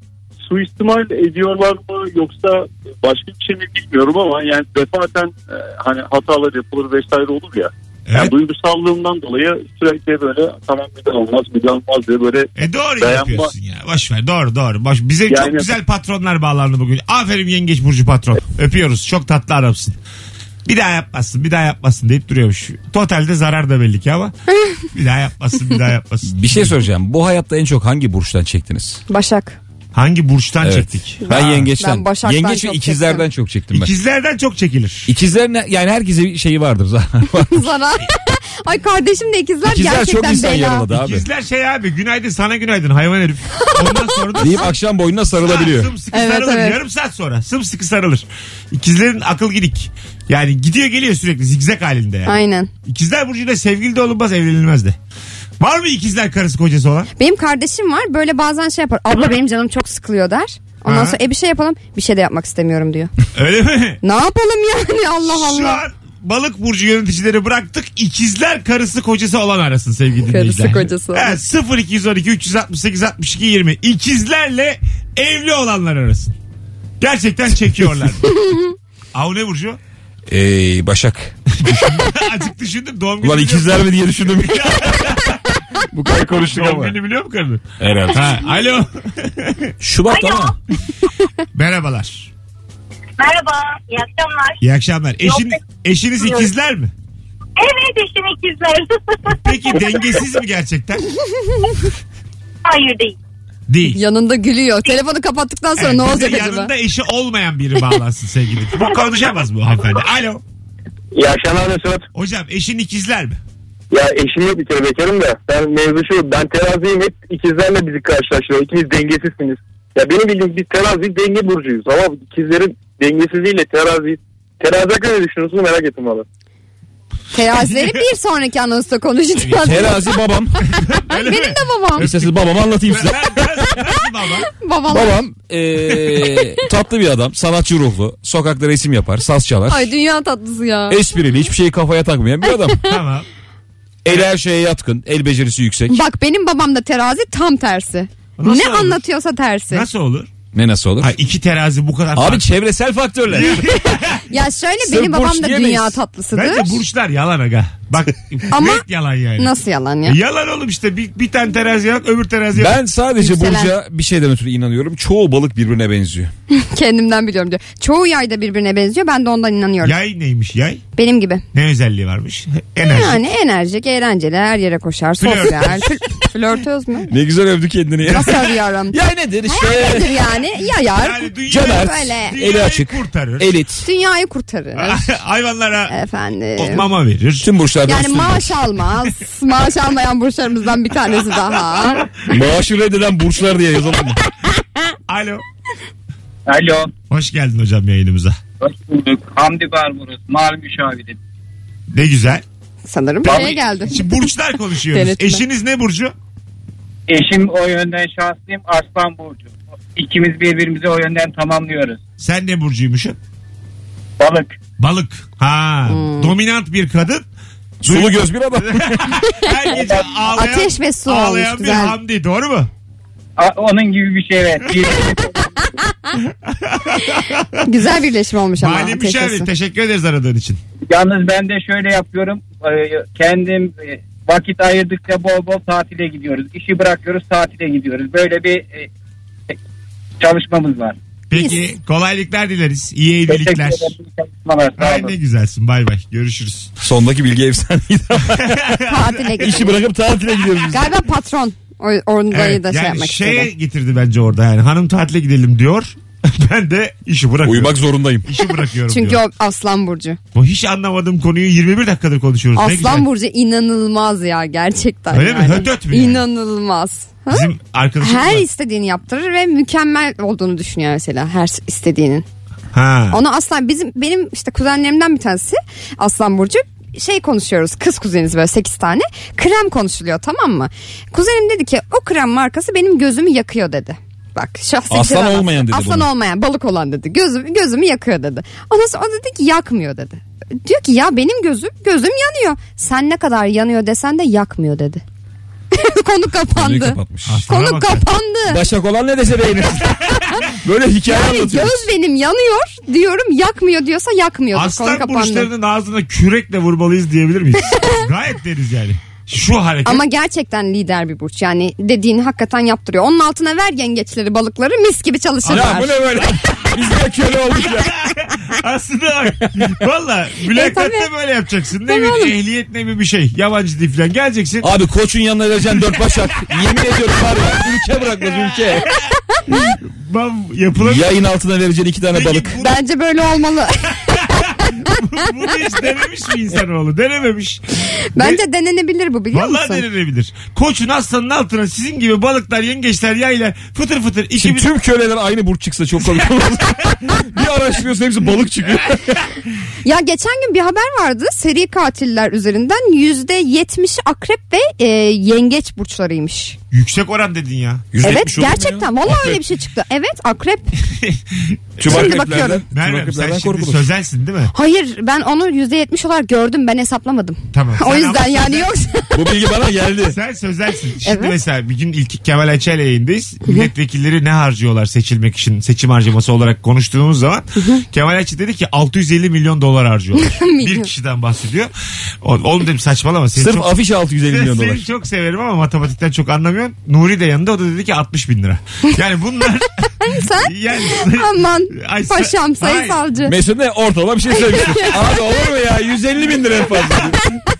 S8: suistimal ediyorlar mı yoksa başka bir şey mi bilmiyorum ama yani defaten e, hani hatalar yapılır vesaire olur ya. Yani
S2: Evet.
S8: duygusallığımdan dolayı sürekli böyle tamam bir daha olmaz bir daha olmaz diye böyle
S2: E doğru
S8: Dayanma-
S2: yapıyorsun ya. Boş ver. Doğru doğru. Boş. Bize çok
S8: Yani-
S2: güzel patronlar bağlandı bugün. Aferin yengeç burcu patron. Öpüyoruz. Çok tatlı adamsın. Bir daha yapmazsın, bir daha yapmazsın deyip duruyormuş. Totalde zarar da belli ki ama. bir daha yapmazsın, bir daha yapmazsın.
S4: Bir şey soracağım. Bu hayatta en çok hangi burçtan çektiniz?
S3: Başak.
S2: Hangi burçtan
S4: Evet.
S2: çektik?
S4: Ben
S2: Ha.
S4: yengeçten.
S3: Ben Başak'tan
S4: Yengeç ve
S3: çok
S4: ikizlerden
S3: çektim.
S4: çok çektim ben.
S2: İkizlerden çok çekilir.
S4: İkizler ne- yani herkese bir şeyi vardır zaten.
S3: Zarar. Ay kardeşim de ikizler,
S4: İkizler çok
S3: gerçekten
S4: insan
S3: bela.
S4: yaraladı abi.
S2: İkizler şey abi günaydın sana günaydın hayvan herif. Ondan sonra da
S4: Deyip akşam boynuna sarılabiliyor.
S2: Ha, sımsıkı
S3: Evet,
S2: sarılır.
S3: evet.
S2: Yarım saat sonra sımsıkı sarılır. İkizlerin akıl gidik. Yani gidiyor geliyor sürekli zigzag halinde yani.
S3: Aynen.
S2: İkizler burcuyla sevgili de olunmaz evlenilmez de. Var mı ikizler karısı kocası olan?
S3: Benim kardeşim var böyle bazen şey yapar. Abla benim canım çok sıkılıyor der. Ondan
S2: Ha.
S3: sonra e bir şey yapalım. Bir şey de yapmak istemiyorum diyor.
S2: Öyle mi?
S3: ne yapalım yani Allah
S2: Şu
S3: Allah.
S2: an balık burcu yöneticileri bıraktık. İkizler karısı kocası olan arasın sevgili dinleyiciler.
S3: kocası olan.
S2: Evet, 0 212 368 62 20. İkizlerle evli olanlar arasın. Gerçekten çekiyorlar. Av ne burcu?
S4: Ey Başak.
S2: Azıcık düşündüm doğum günü.
S4: Ulan ikizler mi diye düşündüm. Bu kadar konuştuk
S2: Doğum
S4: ama.
S2: günü biliyor mu kadın?
S4: Herhalde.
S2: Ha, alo.
S4: Şubat ama.
S2: Merhabalar.
S9: Merhaba, iyi akşamlar.
S2: İyi akşamlar. Eşin, eşiniz ikizler mi?
S9: Evet eşim ikizler.
S2: Peki dengesiz mi gerçekten?
S9: Hayır değil.
S2: Değil.
S3: Yanında gülüyor. Telefonu kapattıktan sonra
S2: Evet,
S3: ne
S2: bize
S3: olacak acaba?
S2: yanında eşi olmayan biri bağlansın sevgili. Bu konuşamaz bu hanımefendi. Alo.
S5: İyi akşamlar Mesut.
S2: Hocam eşin ikizler mi?
S5: Ya eşim yok bir kere bekarım da. Ben mevzu şu ben teraziyim hep ikizlerle bizi karşılaştırıyor. İkiniz dengesizsiniz. Ya benim bildiğim biz terazi denge burcuyuz. Ama ikizlerin dengesizliğiyle terazi terazi hakkında ne düşünüyorsunuz merak ettim valla.
S3: Terazileri bir sonraki anonsta konuşacağız.
S4: Terazi babam.
S2: Öyle
S3: Benim
S2: mi?
S3: de babam.
S4: İsterseniz babamı anlatayım
S2: Nasıl,
S4: size.
S2: nasıl baba?
S3: Babam.
S4: Babam eee, tatlı bir adam. Sanatçı ruhlu. Sokakta resim yapar. Saz çalar.
S3: Ay dünya tatlısı ya.
S4: Esprili. Hiçbir şeyi kafaya takmayan bir adam.
S2: Tamam.
S4: El her şeye yatkın. El becerisi yüksek.
S3: Bak benim babam da terazi tam tersi.
S2: Nasıl
S3: ne
S2: olur?
S3: anlatıyorsa tersi.
S2: Nasıl olur?
S4: Ne nasıl olur?
S2: Ha, iki terazi bu kadar
S4: Abi
S2: farklı.
S4: çevresel faktörler.
S3: Ya şöyle
S4: Sırf
S3: benim
S4: borç
S3: babam da
S4: diyemeyiz.
S3: dünya tatlısıdır.
S2: Bence burçlar yalan aga. Bak
S3: Ama-
S2: net yalan yani.
S3: Nasıl yalan ya?
S2: Yalan oğlum işte bir, bir tane terazi yalan öbür terazi yalan.
S4: ben sadece
S3: Yükselen.
S4: Burcu'ya bir şeyden ötürü inanıyorum. Çoğu balık birbirine benziyor.
S3: Kendimden biliyorum diyor. Çoğu yay da birbirine benziyor. Ben de ondan inanıyorum.
S2: Yay neymiş yay?
S3: Benim gibi.
S2: Ne özelliği varmış? Enerji.
S3: Yani enerjik, eğlenceli, her yere koşar, sosyal. Fl- flörtöz mü?
S4: Ne güzel övdü kendini ya.
S3: Nasıl arıyorum?
S4: ya nedir işte.
S3: Nedir yani? Yayar.
S2: Yani dünya-
S4: Cömert.
S3: Böyle.
S4: Eli açık.
S2: kurtarır.
S4: Elit.
S3: Dünyayı
S2: Ah.
S3: kurtarır.
S2: Hayvanlara
S3: Efendim.
S2: mama verir.
S4: Tüm burçlardan
S3: Yani
S4: üstün.
S3: maaş almaz. maaş almayan burçlarımızdan bir tanesi daha.
S4: Maaşı reddeden burçlar diye yazalım mı?
S2: Alo.
S7: Alo.
S2: Hoş geldin hocam yayınımıza.
S7: Hoş bulduk. Hamdi Barbaros. Mal müşaviri.
S2: Ne güzel.
S3: Sanırım buraya geldi.
S2: Şimdi burçlar konuşuyoruz.
S3: Denetme.
S2: Eşiniz ne burcu?
S7: Eşim o yönden şanslıyım. Arslan Burcu. İkimiz birbirimizi o yönden tamamlıyoruz.
S2: Sen ne burcuymuşsun?
S7: Balık.
S2: Balık. Ha.
S3: Hmm.
S2: Dominant bir kadın.
S4: Sulu göz bir adam.
S2: Her gece ağlayan,
S3: Ateş ve su
S2: ağlayan
S3: olmuş,
S2: bir
S3: güzel.
S2: Hamdi. Doğru mu?
S7: A- onun gibi bir şey evet.
S3: Güzel birleşim olmuş ama.
S2: Mali şey
S3: ateşesi.
S2: müşavir. Teşekkür ederiz aradığın için.
S7: Yalnız ben de şöyle yapıyorum. Ee, Kendim e, vakit ayırdıkça bol bol tatile gidiyoruz. İşi bırakıyoruz tatile gidiyoruz. Böyle bir e, e, çalışmamız var.
S2: Peki kolaylıklar dileriz. İyi
S7: Teşekkür
S2: evlilikler.
S7: ederim. İyi Çalışmalar. Sağ
S2: Ay
S7: olun.
S2: ne güzelsin. Bay bay. Görüşürüz.
S4: Sondaki bilgi efsaneydi.
S3: Tatile gidiyor.
S4: İşi bırakıp tatile gidiyoruz biz.
S3: Galiba patron o- oradayı
S2: Evet,
S3: da şey
S2: yani
S3: yapmak
S2: şeye
S3: istedi.
S2: getirdi bence orada yani hanım tatile gidelim diyor. ben de işi bırakıyorum.
S4: Uyumak zorundayım.
S2: İşi bırakıyorum
S3: Çünkü
S2: diyor.
S3: o Aslan Burcu.
S2: Bu hiç anlamadığım konuyu 21 dakikadır konuşuyoruz. ne güzel.
S3: Aslan Burcu inanılmaz ya gerçekten.
S2: Öyle mi?
S3: yani.
S2: Hötöt mü yani?
S3: İnanılmaz. Ha?
S2: Bizim arkadaşımız
S3: Her
S2: var.
S3: istediğini yaptırır ve mükemmel olduğunu düşünüyor mesela her istediğinin.
S2: Ha.
S3: Onu aslan bizim benim işte kuzenlerimden bir tanesi Aslan Burcu şey konuşuyoruz kız kuzeniniz böyle 8 tane krem konuşuluyor tamam mı? Kuzenim dedi ki o krem markası benim gözümü yakıyor dedi. Bak şahsi
S4: Aslan
S3: krem
S4: olmayan dedi
S3: Aslan
S4: bunu.
S3: olmayan balık olan dedi. Gözüm, gözümü yakıyor dedi. Ondan sonra o dedi ki yakmıyor dedi. Diyor ki ya benim gözüm gözüm yanıyor. Sen ne kadar yanıyor desen de yakmıyor dedi. Konu
S4: Konuyu
S3: kapandı.
S4: kapatmış.
S2: Aslana bak
S3: Konu
S2: ya.
S3: kapandı.
S4: Başak olan ne dese beğenir. Böyle hikaye
S3: Yani
S4: anlatıyoruz.
S3: göz benim yanıyor diyorum yakmıyor diyorsa yakmıyor. Konu
S2: Aslan
S3: kapandı.
S2: burçlarının ağzına kürekle vurmalıyız diyebilir miyiz? Gayet deriz yani. Şu hareket.
S3: Ama gerçekten lider bir burç. Yani dediğini hakikaten yaptırıyor. Onun altına ver yengeçleri, balıkları mis gibi
S4: Ya bu
S3: çalışırlar.
S4: ne böyle? Biz de köle olduk ya.
S2: Aslında bak. Valla mülakatta
S3: E, tabii.
S2: böyle yapacaksın. Ne
S3: Tabii
S2: bir
S3: oğlum.
S2: ehliyet ne bir bir şey. Yabancı dil falan geleceksin.
S4: Abi koçun yanına vereceksin dört başak. Yemin ediyorum var ya ülke bırakmaz ülke.
S2: Bam yapılabilir.
S4: Yayın altına vereceksin iki tane
S2: Peki
S4: balık.
S2: bunu-
S3: Bence böyle olmalı.
S2: Bunu hiç denemiş mi insanoğlu? Denememiş.
S3: Bence denenebilir bu biliyor
S2: Vallahi
S3: musun?
S2: denenebilir. Koçun aslanın altına sizin gibi balıklar, yengeçler, yaylar fıtır fıtır
S4: Şimdi
S2: 2000
S4: tüm köleler aynı burç çıksa çok komik olur. bir araştırıyorsun hepsi balık çıkıyor.
S3: Ya geçen gün bir haber vardı. Seri katiller üzerinden %70'i akrep ve e, yengeç burçlarıymış.
S2: Yüksek oran dedin ya.
S3: Evet
S4: 170 olur mu ya?
S3: gerçekten. Valla öyle bir şey çıktı. Evet akrep.
S4: Tüm
S3: Şimdi
S4: akreplerden,
S3: bakıyorum.
S4: tüm
S2: Merve sen
S4: akreplerden
S2: şimdi
S4: korkulur.
S2: sözelsin değil mi?
S3: Hayır ben onu %70 olarak gördüm. Ben hesaplamadım.
S2: Tamam.
S3: o
S2: Sen
S3: yüzden
S2: ama-
S3: yani yoksa.
S4: Bu bilgi bana geldi.
S2: Sen sözelsin. Şimdi
S3: Evet.
S2: mesela bir gün ilk Kemal Ayça ile yayındayız. Milletvekilleri ne harcıyorlar seçilmek için seçim harcaması olarak konuştuğumuz zaman Kemal Ayça dedi ki 650 milyon dolar harcıyorlar. bir kişiden bahsediyor. O- Oğlum dedim saçmalama. Seni
S4: Sırf
S2: çok,
S4: afiş 650 milyon
S2: seni
S4: dolar.
S2: çok severim ama matematikten çok anlamıyorsun. Nuri de yanında o da dedi ki 60 bin lira. Yani bunlar...
S3: Sen?
S2: yani,
S3: Aman
S2: Ay, sen-
S3: paşam
S2: Hayır.
S3: sayısalcı.
S4: Mesut ne ortalama bir şey söylemiştim. Abi olur mu ya 150 bin lira en fazla.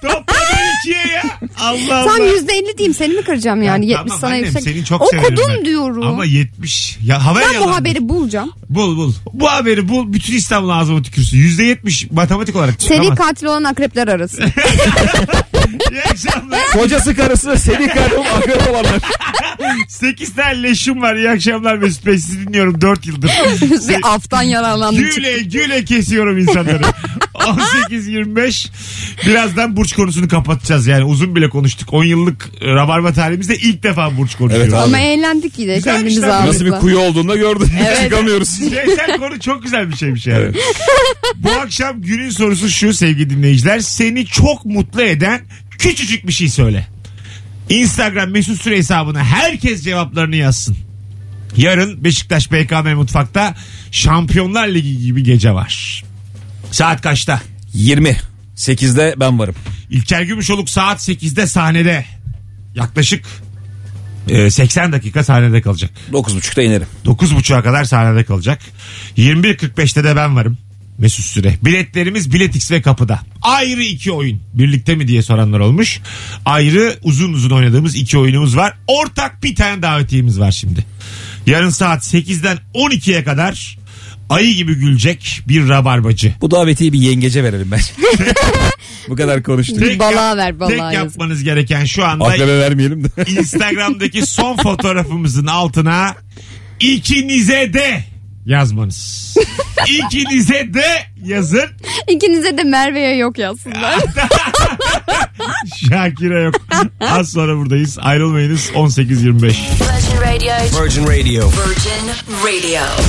S2: Topladı ikiye ya. Allah Allah.
S3: Tam %50 diyeyim seni mi kıracağım yani?
S2: Ya
S3: 70
S2: tamam
S3: sana
S2: annem,
S3: yüksek.
S2: seni çok severim
S3: Okudum
S2: ben.
S3: diyorum.
S2: Ama 70. Ya haber
S3: ben
S2: yalandı.
S3: bu haberi bulacağım.
S2: Bul bul. Bu haberi bul. Bütün İstanbul ağzıma tükürsün. %70 matematik olarak
S3: Seri
S2: çıkamaz.
S3: katil olan akrepler arası.
S2: İyi akşamlar.
S4: Kocası karısı seni karım akrep olanlar.
S2: 8 tane leşim var. İyi akşamlar Mesut Bey. Sizi dinliyorum 4 yıldır.
S3: bir aftan yararlandım.
S2: güle güle kesiyorum insanları. 18-25 birazdan burç konusunu kapatacağız yani uzun bile konuştuk 10 yıllık e, rabarba tarihimizde ilk defa burç konuşuyoruz.
S4: Evet abi.
S3: Ama eğlendik yine
S2: Güzelmiş
S3: kendimiz
S2: lan.
S4: Nasıl bir
S3: ağımızla.
S4: kuyu olduğunu da gördün. Çıkamıyoruz.
S2: Bireysel Şey, konu çok güzel bir şeymiş yani. Bu akşam günün sorusu şu sevgili dinleyiciler. Seni çok mutlu eden küçücük bir şey söyle. Instagram mesut süre hesabına herkes cevaplarını yazsın. Yarın Beşiktaş BKM mutfakta Şampiyonlar Ligi gibi gece var. Saat kaçta?
S4: 20. 8'de ben varım.
S2: İlker Gümüşoluk saat 8'de sahnede. Yaklaşık e, 80 dakika sahnede kalacak.
S4: 9.30'da inerim.
S2: 9.30'a kadar sahnede kalacak. 21.45'te de ben varım. Mesut Süre. Biletlerimiz Biletix ve kapıda. Ayrı iki oyun. Birlikte mi diye soranlar olmuş. Ayrı uzun uzun oynadığımız iki oyunumuz var. Ortak bir tane davetiyemiz var şimdi. Yarın saat 8'den 12'ye kadar ayı gibi gülecek bir rabarbacı.
S4: Bu davetiyi bir yengece verelim bence. Bu kadar konuştuk.
S2: Tek
S3: balığa
S2: yap-
S3: ver, balığa
S2: Tek
S3: yazık.
S2: yapmanız gereken şu anda
S4: Akrebe vermeyelim de.
S2: Instagram'daki son fotoğrafımızın altına ikinize de yazmanız. İkinize de yazın.
S3: İkinize de Merve'ye yok yazsınlar.
S2: Şakir'e yok. Az sonra buradayız. Ayrılmayınız 18.25.
S10: Virgin Radio.
S11: Virgin Radio.
S10: Virgin Radio.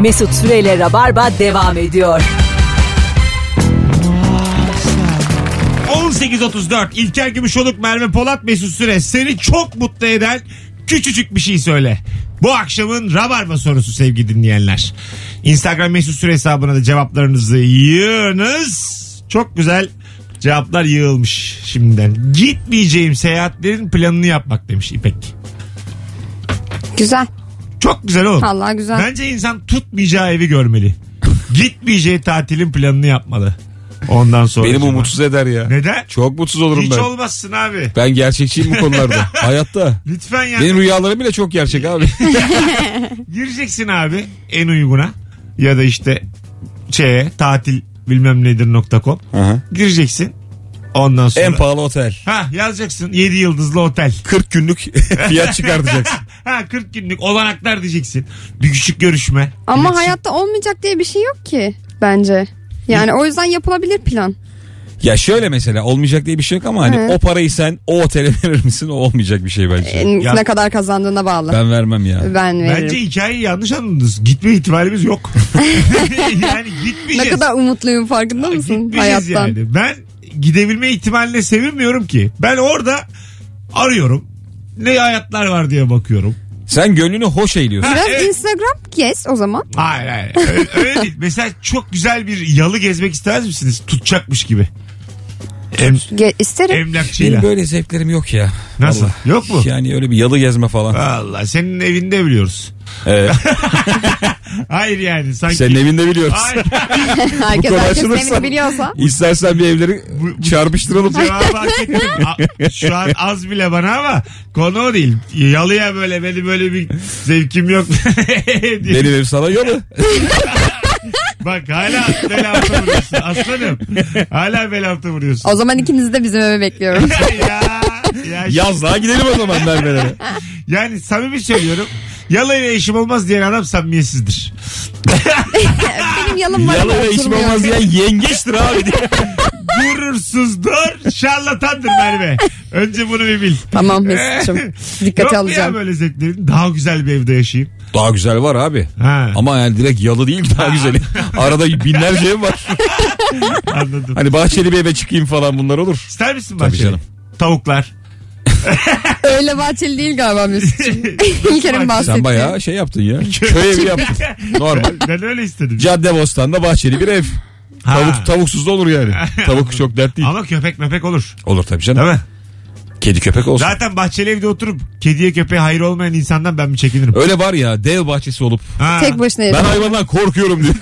S1: Mesut Süreyle Rabarba devam ediyor.
S2: 18.34 İlker Gümüşoluk, Merve Polat, Mesut Süre. Seni çok mutlu eden küçücük bir şey söyle. Bu akşamın Rabarba sorusu sevgili dinleyenler. Instagram Mesut Süre hesabına da cevaplarınızı yığınız. Çok güzel cevaplar yığılmış şimdiden. Gitmeyeceğim seyahatlerin planını yapmak demiş İpek.
S3: Güzel.
S2: Çok güzel oğlum.
S3: Allah güzel.
S2: Bence insan tutmayacağı evi görmeli. Gitmeyeceği tatilin planını yapmalı. Ondan sonra.
S4: Beni bu mutsuz eder ya.
S2: Neden?
S4: Çok mutsuz olurum
S2: Hiç
S4: ben.
S2: olmazsın abi.
S4: Ben gerçekçiyim bu konularda. Hayatta.
S2: Lütfen yani.
S4: Benim rüyalarım bile çok gerçek abi.
S2: Gireceksin abi en uyguna ya da işte şeye tatil bilmem nedir nokta com. Gireceksin. Ondan sonra.
S4: en pahalı otel.
S2: ha yazacaksın 7 yıldızlı otel.
S4: 40 günlük fiyat çıkartacaksın.
S2: ha 40 günlük olanaklar diyeceksin. Bir küçük görüşme.
S3: Ama
S2: İletişim.
S3: hayatta olmayacak diye bir şey yok ki bence. Yani o yüzden yapılabilir plan.
S4: Ya şöyle mesela olmayacak diye bir şey yok ama hani
S3: Hı.
S4: o parayı sen o otele verir misin? O olmayacak bir şey bence.
S3: E,
S2: Ya-
S3: Ne kadar kazandığına bağlı.
S4: Ben vermem ya.
S3: Ben, veririm.
S2: Bence hikayeyi yanlış anladınız. Gitme ihtimalimiz yok. yani
S3: ne
S2: gitmeyeceğiz.
S3: kadar umutluyum farkında mısın
S2: Gitmeyeceğiz
S3: hayattan?
S2: yani. Ben gidebilme ihtimaline sevinmiyorum ki. Ben orada arıyorum. Ne hayatlar var diye bakıyorum.
S4: Sen gönlünü hoş eğliyorsun.
S3: Biraz
S2: Evet.
S3: Instagram yes o zaman.
S2: Hayır hayır. Öyle, öyle değil. Mesela çok güzel bir yalı gezmek istemez misiniz? Tutacakmış gibi. Em,
S3: Ge- isterim.
S2: emlakçıyla.
S4: Benim böyle zevklerim yok ya.
S2: Nasıl?
S4: Vallahi.
S2: Yok mu?
S4: Yani öyle bir yalı gezme falan.
S2: Allah senin evinde biliyoruz.
S4: Ee,
S2: Hayır yani sanki.
S4: senin evinde biliyoruz.
S2: Hayır.
S3: Herkes
S4: konu
S3: herkesin
S4: açılırsa-
S3: evini biliyorsa.
S4: İstersen bir evleri çarpıştıralım.
S2: Cevabı hak ettim. A- Şu an az bile bana ama konu o değil. Yalıya böyle beni böyle bir zevkim yok. diye.
S4: Benim ev sana yalı.
S2: Bak hala bel altı vuruyorsun aslanım. Hala bel altı vuruyorsun.
S3: O zaman ikinizi de bizim eve bekliyorum.
S2: ya, ya,
S4: Yazlığa gidelim o zaman Merve'lere.
S2: Yani samimi söylüyorum. Yalayla eşim olmaz diyen adam samimiyetsizdir.
S3: Benim yalım var. ama
S4: Yalı ve işim
S3: oturmuyor.
S4: olmaz diyen yengeçtir abi diye.
S2: Gurur onursuzdur, şarlatandır Merve. Önce bunu bir bil.
S3: Tamam Mesut'cum.
S2: Yok
S3: Dikkate
S2: mu
S3: alacağım.
S2: ya böyle zevklerin? Daha güzel bir evde yaşayayım.
S4: Daha güzel var abi.
S2: Ha.
S4: Ama yani direkt yalı değil ki daha güzeli. Arada binlerce ev var.
S2: Anladım.
S4: Hani bahçeli bir eve çıkayım falan bunlar olur.
S2: İster misin
S4: Tabii
S2: bahçeli?
S4: canım.
S2: Tavuklar.
S3: Öyle bahçeli değil galiba Mesut'cum. İlk
S2: Sen
S3: kere
S4: Sen
S3: bahsettin.
S4: bayağı şey yaptın ya. Köy evi yaptın. Normal.
S2: Ben öyle istedim.
S4: Cadde Bostan'da bahçeli bir ev.
S2: Ha.
S4: Tavuk tavuksuz da olur yani. Tavuk çok dert değil.
S2: Ama köpek mepek olur.
S4: Olur tabii canım.
S2: Değil mi?
S4: Kedi köpek olsun.
S2: Zaten bahçeli evde oturup kediye köpeğe hayır olmayan insandan ben mi çekinirim?
S4: Öyle var ya dev bahçesi olup
S2: Ha.
S3: Tek başına
S4: ben
S3: yedim.
S4: hayvandan korkuyorum diyor.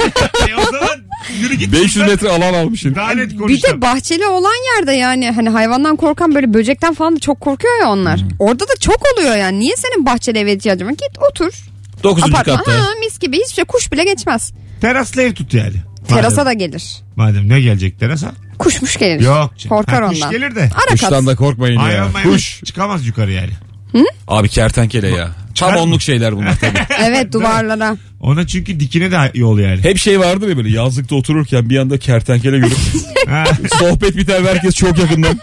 S2: E o zaman yürü git.
S4: 500 metre alan almışsın.
S2: Daha net
S3: E, Bir
S2: konuşalım.
S3: de bahçeli olan yerde yani hani hayvandan korkan böyle böcekten falan da çok korkuyor ya
S4: Hmm.
S3: onlar. Orada da çok oluyor yani. Niye senin bahçeli eve ihtiyacın var? Git otur.
S4: 9.
S3: Apartman
S4: katta.
S3: ha, mis gibi hiçbir şey kuş bile geçmez.
S2: Teraslı ev tut yani.
S3: Terasa
S2: madem,
S3: da gelir.
S2: Madem ne gelecek terasa?
S3: Kuşmuş gelir.
S2: Yok. canım.
S3: Korkar
S2: Ha, kuş
S3: ondan.
S2: gelir de.
S3: Ara kat.
S4: Kuştan da korkmayın ya.
S2: Hayvan mayvan
S4: Kuş.
S2: çıkamaz yukarı yani.
S4: Abi kertenkele ya. Tam
S2: mı?
S4: onluk şeyler bunlar tabii.
S3: Evet duvarlara.
S2: Ona çünkü dikine de yol yani.
S4: Hep şey vardır ya böyle yazlıkta otururken bir anda kertenkele görüp
S2: Ha,
S4: sohbet biter ve herkes çok yakından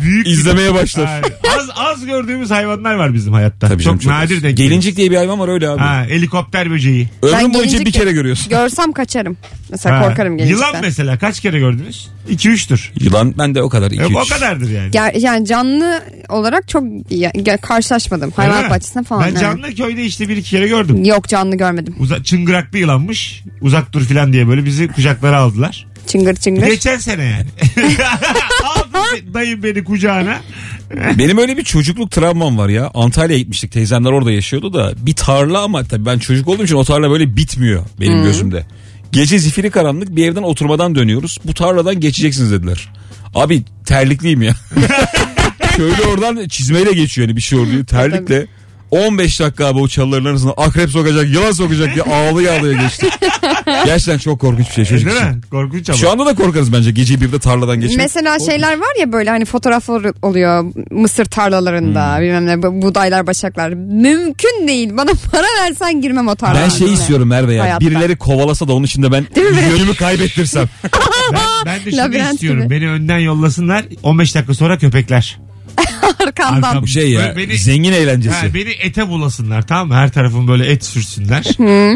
S2: büyük
S4: izlemeye başlar.
S2: Ha, az az gördüğümüz hayvanlar var bizim hayatta.
S4: Tabii canım,
S2: çok nadir de.
S4: Gelincik diye bir hayvan var öyle abi.
S2: Ha, helikopter böceği.
S3: Ben
S4: Ömrün boyunca
S3: gelincik
S4: bir kere
S3: de-
S4: görüyorsun.
S3: Görsem kaçarım. Mesela
S2: Ha,
S3: korkarım gelecekten.
S2: Yılan mesela kaç kere gördünüz? 2-3'tür.
S4: Yılan ben de o kadar. Iki,
S2: E,
S4: üç.
S2: o kadardır yani.
S3: Ger- yani canlı olarak çok ya- ya- karşılaşmadım.
S2: Öyle
S3: Hayvanat
S2: mi?
S3: bahçesinde falan.
S2: Ben
S3: evet.
S2: canlı köyde işte bir iki kere gördüm.
S3: Yok canlı görmedim.
S2: Uza, çıngıraklı yılanmış. Uzak dur filan diye böyle bizi kucaklara aldılar.
S3: Çıngır çıngır.
S2: Geçen sene yani. Aldı se- dayım beni kucağına.
S4: Benim öyle bir çocukluk travmam var ya. Antalya'ya gitmiştik. Teyzemler orada yaşıyordu da. Bir tarla ama tabii ben çocuk olduğum için o tarla böyle bitmiyor benim gözümde. Gece zifiri karanlık bir evden oturmadan dönüyoruz. Bu tarladan geçeceksiniz dediler. Abi terlikliyim ya. Şöyle oradan çizmeyle geçiyor yani bir şey oluyor. Terlikle 15 dakika abi o çalıların arasında akrep sokacak, yılan sokacak diye ağlıya ağlıya geçtik. Gerçekten çok korkunç bir şey çocuk
S2: E, Değil
S4: için.
S2: mi? Korkunç ama.
S4: Şu anda da korkarız bence gece birde tarladan geçmek.
S3: Mesela şeyler var ya böyle hani fotoğraflar oluyor mısır tarlalarında
S2: Hmm.
S3: bilmem ne bu- buğdaylar başaklar. Mümkün değil bana para versen girmem o tarlalara.
S4: Ben şey istiyorum Merve ya.
S3: Hayatta.
S4: Birileri kovalasa da onun içinde ben yönümü kaybettirsem.
S2: Ben, ben de şunu
S3: Labirent
S2: istiyorum.
S3: gibi.
S2: Beni önden yollasınlar. 15 dakika sonra köpekler.
S3: Arkamdan.
S2: Arkam-
S4: Bu şey ya
S2: Böyle beni-
S4: zengin eğlencesi.
S2: Ha, beni ete bulasınlar tamam mı? Her tarafım böyle et sürsünler.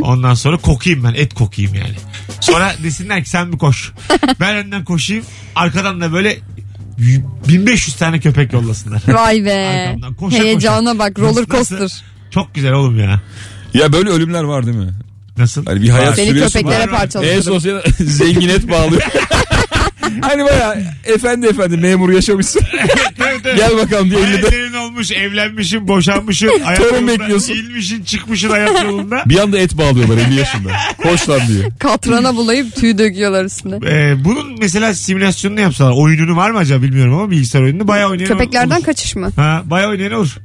S2: Ondan sonra kokayım ben et kokayım yani. Sonra desinler ki sen bir koş. Ben önden koşayım. Arkadan da böyle 1500 tane köpek yollasınlar.
S3: Vay be.
S2: Arkamdan koşa koşa.
S3: Heyecana bak roller coaster.
S2: Nasıl? Çok güzel oğlum ya.
S4: Ya böyle ölümler var değil mi?
S2: Nasıl?
S4: Hani bir hayat
S3: Seni
S4: sürüyorsun.
S3: köpeklere
S4: ama
S3: parçalatırım.
S4: En sosyal zengin et bağlıyor. hani baya efendi efendi memur yaşamışsın. Gel bakalım diye elinde.
S2: Hayallerin olmuş, evlenmişim, boşanmışım. hayat
S4: Torun
S2: yolunda
S4: bekliyorsun.
S2: İlmişin, çıkmışın hayat yolunda.
S4: Bir anda et bağlıyorlar 50 yaşında. Koş lan diye.
S3: Katrana bulayıp tüy döküyorlar üstüne.
S2: Ee, bunun mesela simülasyonunu yapsalar. Oyununu var mı acaba bilmiyorum ama bilgisayar oyununu bayağı oynayan
S3: Köpeklerden
S2: olur.
S3: kaçış mı?
S2: Ha, bayağı oynayan olur.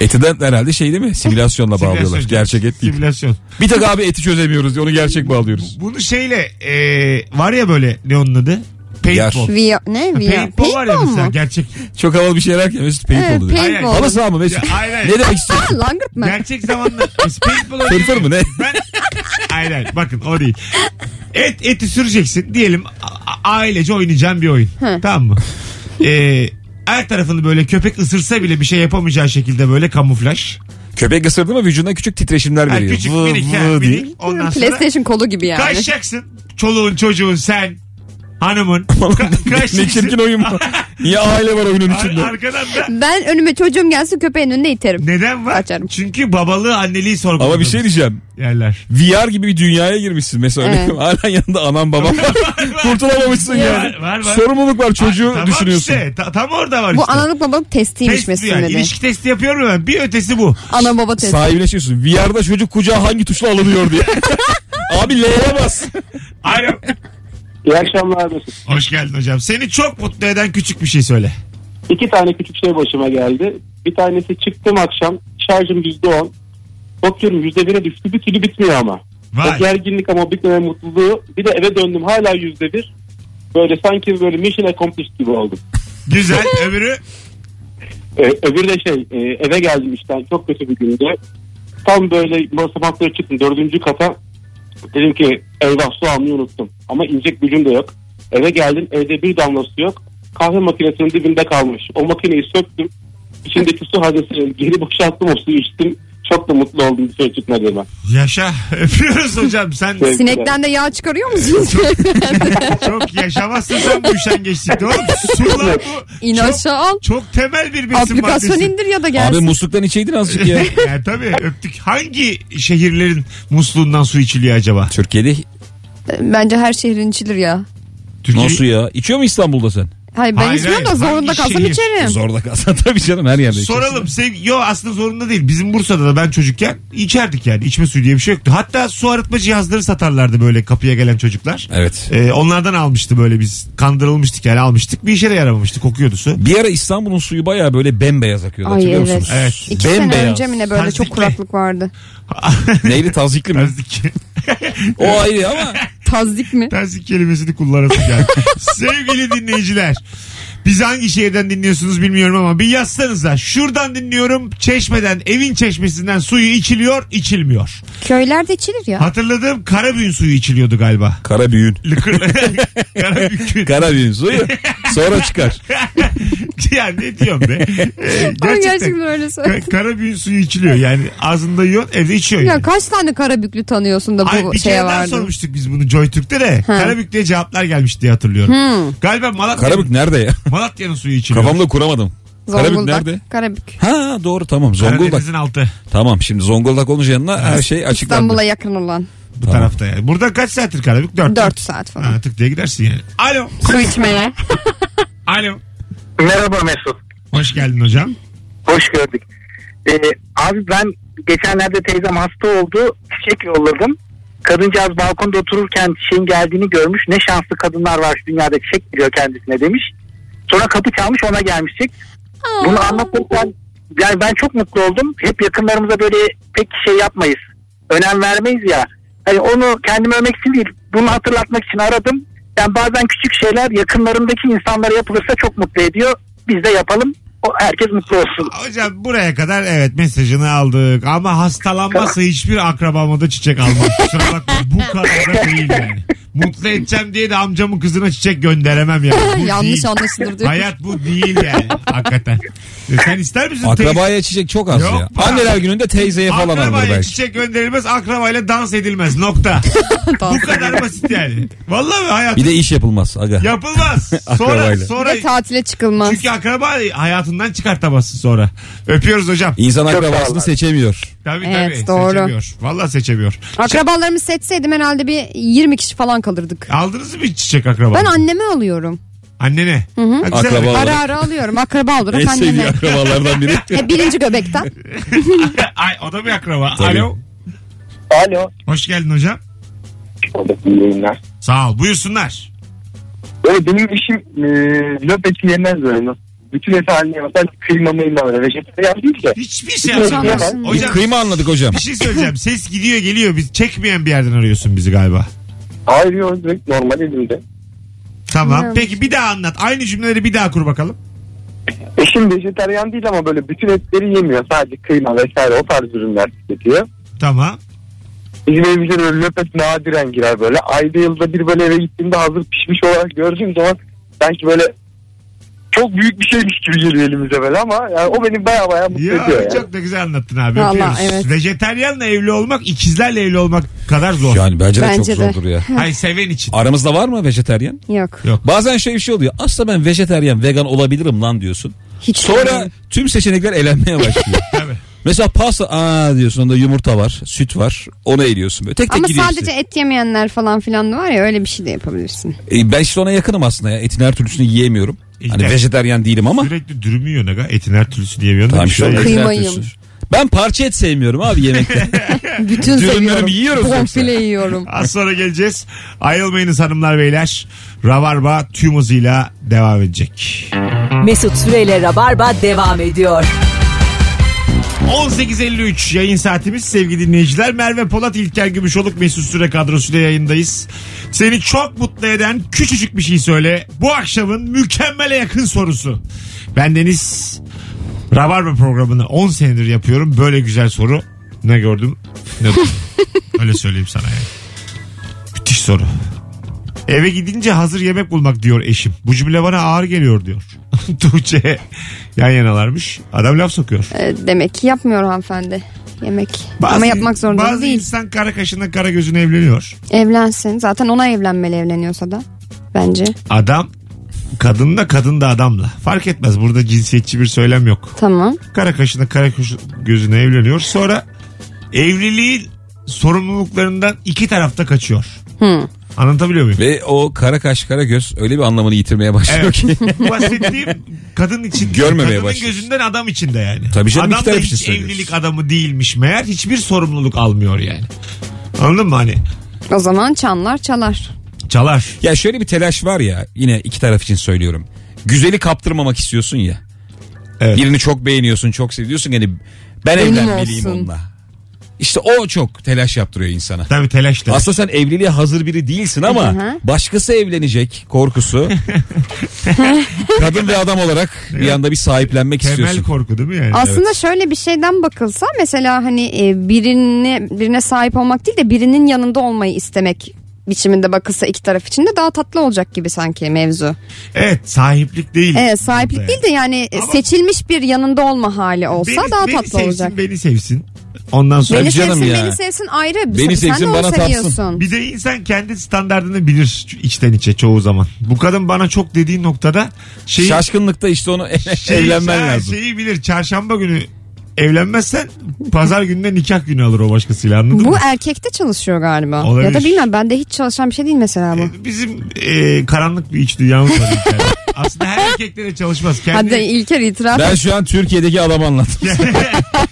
S4: Etiden herhalde şey değil mi? Simülasyonla bağlıyorlar.
S2: Simülasyon.
S4: Gerçek et değil.
S2: Simülasyon.
S4: Bir tek abi eti çözemiyoruz diye onu gerçek bağlıyoruz.
S2: Bunu şeyle e, var ya böyle ne onun adı? Paintball.
S4: Yer.
S3: Via, ne? Via.
S2: Paintball var ya
S3: Paintball
S2: mesela
S3: mu?
S2: gerçek.
S4: Çok havalı bir şey yerken Mesut paint
S3: Evet,
S4: oldu. dedi.
S2: Hayır,
S3: paintball.
S4: Halı saha mı Mesut?
S2: Ya, aynen.
S4: Ne demek istiyorsun?
S3: Langırt mı?
S2: Gerçek zamanlı. Biz paintball
S4: Fırfır
S2: oynuyoruz.
S4: mı ne?
S2: Ben... Aynen bakın o değil. Et, eti süreceksin diyelim a- a- ailece oynayacağın bir oyun. Tamam mı? Ee, her tarafını böyle köpek ısırsa bile bir şey yapamayacağı şekilde böyle kamuflaj.
S4: Köpek ısırdı mı vücuduna küçük titreşimler
S2: Yani
S4: veriyor.
S2: küçük
S4: Vı,
S2: minik, ha,
S4: vı diye.
S2: minik. Ondan sonra
S3: PlayStation kolu gibi yani.
S2: kaçacaksın. Çoluğun çocuğun sen hanımın. Ka-
S4: ne çirkin
S2: kaçacaksın.
S4: oyun bu. Niye aile var oyunun
S2: Ar-
S4: içinde?
S2: arkadan da
S3: Ben önüme çocuğum gelsin köpeğin önüne iterim.
S2: Neden var?
S3: Kaçarım.
S2: Çünkü babalığı anneliği sorguladı.
S4: Ama bir şey diyeceğim.
S2: Yerler.
S4: VR gibi bir dünyaya girmişsin mesela. öyle
S3: Evet.
S4: mi? Hala yanında anam babam var. Kurtulamamışsın yani.
S2: Var, var, var.
S4: Sorumluluk var çocuğu
S2: Tamam
S4: düşünüyorsun.
S2: işte. ta- tam orada var
S3: Bu
S2: işte.
S3: analık babalık testiymiş
S2: Test bu
S3: Mesut'un
S2: yani.
S3: dediği.
S2: İlişki testi yapıyorum ben. Bir ötesi bu.
S3: Ana baba testi.
S4: Sahibileşiyorsun. VR'da çocuk kucağa hangi tuşla alınıyor diye. Abi L'ye bas.
S2: Alo.
S5: İyi akşamlar Mesut.
S2: Hoş geldin hocam. Seni çok mutlu eden küçük bir şey söyle.
S5: İki tane küçük şey başıma geldi. Bir tanesi çıktım akşam şarjım %10. Bakıyorum %1'e düştü bir türlü bitmiyor ama.
S2: Vay.
S5: O gerginlik ama bitmeme mutluluğu. Bir de eve döndüm hala %1. Böyle sanki böyle mission accomplished gibi oldum.
S2: Güzel. Öbürü
S5: Ee, öbürü de şey e, eve geldim işten çok kötü bir günde. Tam böyle basamaklara çıktım dördüncü kata. Dedim ki eyvah su almayı unuttum. Ama inecek gücüm de yok. Eve geldim evde bir damla su yok. Kahve makinesinin dibinde kalmış. O makineyi söktüm. İçindeki su haznesini geri boşalttım o suyu içtim. Çok da mutlu oldum dışarı çıkmadığıma.
S2: Yaşa. Öpüyoruz hocam. Sen
S5: Evet.
S3: Sinekten de yağ çıkarıyor musunuz?
S2: çok yaşamazsın sen bu üşengeçlikte oğlum. Su lan bu.
S3: İn
S2: Çok-
S3: aşağı al.
S2: Çok temel bir besin
S3: Aplikasyon
S2: maddesi.
S3: indir ya da
S4: Abi
S3: gelsin.
S4: musluktan içeydin azıcık ya.
S2: yani tabii öptük. Hangi şehirlerin musluğundan su içiliyor acaba?
S4: Türkiye'de
S3: Bence her şehrin içilir ya.
S2: Türkiye...
S4: nasıl ya? İçiyor mu İstanbul'da sen?
S3: Hayır ben
S2: Hayır,
S3: içmiyorum da
S2: hayır.
S3: zorunda
S2: Hangi
S3: kalsam
S2: şehir?
S3: içerim.
S4: Zorda kalsan tabii canım her yerde içiyorsun.
S2: Soralım. Sev... Yo aslında zorunda değil. Bizim Bursa'da da ben çocukken içerdik yani. İçme suyu diye bir şey yoktu. Hatta su arıtma cihazları satarlardı böyle kapıya gelen çocuklar.
S4: Evet.
S2: Ee, onlardan almıştı böyle biz. Kandırılmıştık yani almıştık. Bir işe de yaramamıştı. Kokuyordu su.
S4: Bir ara İstanbul'un suyu bayağı böyle bembeyaz akıyordu
S3: Ay
S4: hatırlıyor
S3: evet.
S4: musunuz?
S2: Evet.
S3: İki sene
S4: Bembeyaz.
S3: önce mi ne böyle çok
S2: Tazikli.
S3: kuraklık vardı.
S4: Neyli tazikli mi?
S2: Tazdik,
S4: o ayrı ama
S3: Tazdik mi?
S2: tazdik kelimesini kullanasın yani. Sevgili dinleyiciler. Biz hangi şehirden dinliyorsunuz bilmiyorum ama bir yazsanıza. Şuradan dinliyorum. Çeşmeden, evin çeşmesinden suyu içiliyor, içilmiyor.
S3: Köylerde içilir ya.
S2: Hatırladığım Karabüğün suyu içiliyordu galiba.
S4: Karabüğün.
S2: Lıkır, Karabük'ün.
S4: Karabüğün suyu sonra çıkar.
S2: ya ne diyorum be. Ee,
S3: Ay,
S2: gerçekten.
S3: öyle
S2: Ka- Karabüğün suyu içiliyor yani ağzında yiyorsun evde içiyorsun.
S3: Ya
S2: Yani.
S3: kaç tane karabüklü tanıyorsun da bu
S2: Ay, bir
S3: şeye
S2: kere daha
S3: vardı.
S2: sormuştuk biz bunu Joytürk'te de. Karabük diye cevaplar gelmiş diye hatırlıyorum. Galiba Malatya,
S4: Karabük nerede ya?
S2: Malatya'nın suyu içiliyor.
S4: Kafamda kuramadım. Karabük
S3: Zonguldak.
S4: nerede?
S3: Karabük.
S4: Ha doğru tamam Zonguldak.
S2: Karadeniz'in altı
S4: Tamam şimdi Zonguldak olunca yanına her şey açıklandı.
S3: İstanbul'a yakın olan.
S2: bu tarafta yani. Burada kaç saattir Karabük? Dört.
S3: 4 saat falan.
S2: Ha, tık diye gidersin yani. Alo.
S3: Su içmeye.
S2: Alo.
S5: Merhaba Mesut.
S2: Hoş geldin hocam.
S5: Hoş gördük. Ee, abi ben geçenlerde teyzem hasta oldu. Çiçek yolladım. Kadıncağız balkonda otururken şeyin geldiğini görmüş. Ne şanslı kadınlar var şu dünyada çiçek biliyor kendisine demiş. Sonra kapı çalmış ona gelmiş çiçek. Bunu anlatırken yani ben çok mutlu oldum. Hep yakınlarımıza böyle pek şey yapmayız. Önem vermeyiz ya. Hani onu kendime övmek için değil bunu hatırlatmak için aradım. Yani bazen küçük şeyler yakınlarımdaki insanlara yapılırsa çok mutlu ediyor. Biz de yapalım. O, herkes mutlu olsun.
S2: Hocam buraya kadar evet mesajını aldık ama hastalanmazsa hiçbir akrabama da çiçek almam. Kusura bakma bu kadar da değil yani. Mutlu edeceğim diye de amcamın kızına çiçek gönderemem yani. Bu
S3: Yanlış
S2: değil.
S3: anlaşılır diyor.
S2: Hayat bu değil yani hakikaten. E, Sen ister misin?
S4: Akrabaya çiçek çok az
S2: Yok
S4: ya.
S2: be.
S4: Anneler gününde teyzeye
S2: teyze-
S4: falan alınır
S2: Akrabaya
S4: belki.
S2: çiçek gönderilmez akrabayla dans edilmez nokta. bu kadar basit yani. Vallahi hayat
S4: Bir de iş yapılmaz aga.
S2: yapılmaz. Sonra
S4: Akrabayla.
S2: sonra
S3: Ve tatile çıkılmaz.
S2: çünkü akraba hayatından çıkartamazsın sonra. Öpüyoruz hocam.
S4: İnsan akrabasını seçemiyor.
S2: Tabii
S3: Evet,
S2: tabii.
S3: doğru.
S2: Seçemiyor. Vallahi seçemiyor.
S3: Akrabalarımı seçseydim herhalde bir 20 kişi falan kalırdık.
S2: Şey, Aldınız mı hiç çiçek akraba?
S3: Ben anneme alıyorum.
S2: Annene. Ha, güzel.
S4: Akraba.
S3: Ara ara alıyorum. Akraba olarak
S4: En sevdiği
S3: anneme.
S4: akrabalardan biri.
S3: E, birinci göbekten.
S2: Ay o da bir akraba.
S4: Tabii.
S2: Alo.
S5: Alo.
S2: Hoş geldin hocam. Sağ ol. Buyursunlar.
S5: Böyle benim işim e, löpeti yemez böyle. Bütün et haline mesela kıyma mıyma öyle. Vejetaryen değil de.
S2: Hiçbir şey anlamıyorsun.
S3: anlaşılmıyor.
S4: Bir
S2: Hocam
S4: kıyma anladık hocam.
S2: bir şey söyleyeceğim. Ses gidiyor geliyor. Biz çekmeyen bir yerden arıyorsun bizi galiba.
S5: Hayır yok direkt normal elimde.
S2: Tamam.
S3: Evet.
S2: Peki bir daha anlat. Aynı cümleleri bir daha kur bakalım.
S5: Eşim vejetaryen değil ama böyle bütün etleri yemiyor. Sadece kıyma vesaire o tarz ürünler tüketiyor.
S2: Tamam.
S5: Bizim evimize böyle löpet nadiren girer böyle. Ayda yılda bir böyle eve gittiğimde hazır pişmiş olarak gördüğüm zaman sanki böyle çok büyük bir şeymiş gibi geliyor elimize böyle ama yani o beni baya baya mutlu
S2: Ya,
S5: ediyor. Yani.
S2: çok da güzel anlattın abi.
S3: Vallahi
S2: Öpüyoruz.
S3: evet.
S2: Vejeteryanla evli olmak ikizlerle evli olmak kadar zor.
S4: Yani bence de
S3: Bence
S4: çok
S3: de.
S4: zordur ya.
S2: Hayır seven için.
S4: Aramızda var mı vejeteryen?
S3: Yok.
S4: Bazen şey bir şey oluyor. Aslında ben vejeteryen, vegan olabilirim lan diyorsun.
S3: Hiç
S4: Sonra tüm seçenekler elenmeye başlıyor.
S2: Tabii.
S4: Mesela pasta aa diyorsun onda yumurta var, süt var. Onu eliyorsun böyle. Tek tek
S3: Ama
S4: gidiyor
S3: sadece
S4: işte.
S3: et yemeyenler falan filan da var ya öyle bir şey de yapabilirsin.
S4: E, ben işte ona yakınım aslında ya. Etin her türlüsünü yiyemiyorum.
S2: İyi
S4: Hani
S2: de.
S4: vejeteryen değilim ama.
S2: Sürekli dürümü yiyorsun aga. Etin her türlüsü diyemiyorsun. da
S4: Tamam
S2: bir
S4: işte
S2: şey
S4: onun
S2: yok.
S4: etin her
S3: Kıymayı
S4: türlüsü.
S3: yemiş.
S4: Ben parça et sevmiyorum abi yemekte.
S3: Bütün
S4: Dürümlerimi
S3: seviyorum.
S4: yiyoruz yoksa.
S3: Bonfile yiyorum.
S2: Az sonra geleceğiz. Ayrılmayınız hanımlar beyler. Rabarba tüm hızıyla devam edecek.
S1: Mesut Süreyle Rabarba devam ediyor.
S2: 18.53 yayın saatimiz sevgili dinleyiciler. Merve Polat, İlker Gümüşoluk, Mesut Süre kadrosuyla yayındayız. Seni çok mutlu eden küçücük bir şey söyle. Bu akşamın mükemmele yakın sorusu. Bendeniz Rabarba programını 10 senedir yapıyorum. Böyle güzel soru ne gördüm ne duydum. Öyle söyleyeyim sana yani. Müthiş soru. Eve gidince hazır yemek bulmak diyor eşim. Bu cümle bana ağır geliyor diyor. Tuğçe yan yanalarmış. Adam laf sokuyor.
S3: Ee, Demek ki yapmıyor hanımefendi yemek. Ama yapmak zorunda
S2: bazı
S3: da değil.
S2: insan kara kaşına kara gözüne evleniyor.
S3: Evlensin. Zaten ona evlenmeli evleniyorsa da. Bence.
S2: Adam kadınla kadın da adamla. Fark etmez burada cinsiyetçi bir söylem yok.
S3: Tamam.
S2: kara kaşına kara kaşı- gözüne evleniyor. Sonra evliliğin sorumluluklarından iki tarafta kaçıyor.
S3: Hı.
S2: Anlatabiliyor muyum?
S4: Ve o kara kaş kara göz öyle bir anlamını yitirmeye başlıyor
S2: Evet.
S4: ki.
S2: Bu bahsettiğim kadın için
S4: Görmemeye
S2: kadının
S4: başlıyorsun.
S2: gözünden adam içinde yani.
S4: Tabii canım,
S2: adam
S4: iki
S2: da
S4: taraf için
S2: hiç
S4: söylüyorsun.
S2: evlilik adamı değilmiş meğer hiçbir sorumluluk almıyor yani. Anladın mı hani?
S3: O zaman çanlar çalar.
S2: Çalar.
S4: Ya şöyle bir telaş var ya yine iki taraf için söylüyorum. Güzeli kaptırmamak istiyorsun ya.
S2: Evet.
S4: Birini çok beğeniyorsun çok seviyorsun yani ben
S3: Benim
S4: evlenmeliyim
S3: olsun.
S4: onunla. İşte o çok telaş yaptırıyor insana.
S2: Tabii telaş telaş.
S4: Aslında sen evliliğe hazır biri değilsin ama
S3: Hı hı.
S4: başkası evlenecek korkusu. Kadın ve adam olarak bir anda bir sahiplenmek
S2: Temel
S4: istiyorsun.
S2: korku değil mi yani?
S3: Aslında şöyle bir şeyden bakılsa mesela hani e, birine birine sahip olmak değil de birinin yanında olmayı istemek biçiminde bakılsa iki taraf için de daha tatlı olacak gibi sanki mevzu.
S2: Evet sahiplik değil.
S3: Evet sahiplik
S2: Burada
S3: değil de yani e,
S2: Ama-
S3: seçilmiş bir yanında olma hali olsa
S2: Beni-
S3: daha
S2: beni
S3: tatlı
S2: sevsin,
S3: olacak.
S2: Beni sevsin. Ondan sonra
S4: Tabii
S3: Beni
S4: canım
S3: sevsin
S4: ya.
S3: beni sevsin ayrı.
S4: Beni
S3: Sen de
S4: sevsin,
S3: onu
S4: bana tapsın.
S3: seviyorsun.
S2: Bir de insan kendi standartını bilir içten içe çoğu zaman. Bu kadın bana çok dediği noktada şeyi,
S4: Şaşkınlıkta işte onu
S2: şeyi-
S4: evlenmen
S2: ha,
S4: lazım.
S2: Şeyi bilir. Çarşamba günü evlenmezsen pazar gününe nikah günü alır o başkasıyla anladın
S3: Bu er-
S2: mı?
S3: erkekte çalışıyor galiba.
S2: Olabilir.
S3: Ya da bilmem bende hiç çalışan bir şey değil mesela bu.
S2: E, Bizim e, karanlık bir iç dünyamız var. bir tane. Aslında her erkekte de çalışmaz. Kendi,
S3: Hadi İlker itiraf.
S4: Ben şu an Türkiye'deki adamı anlattım.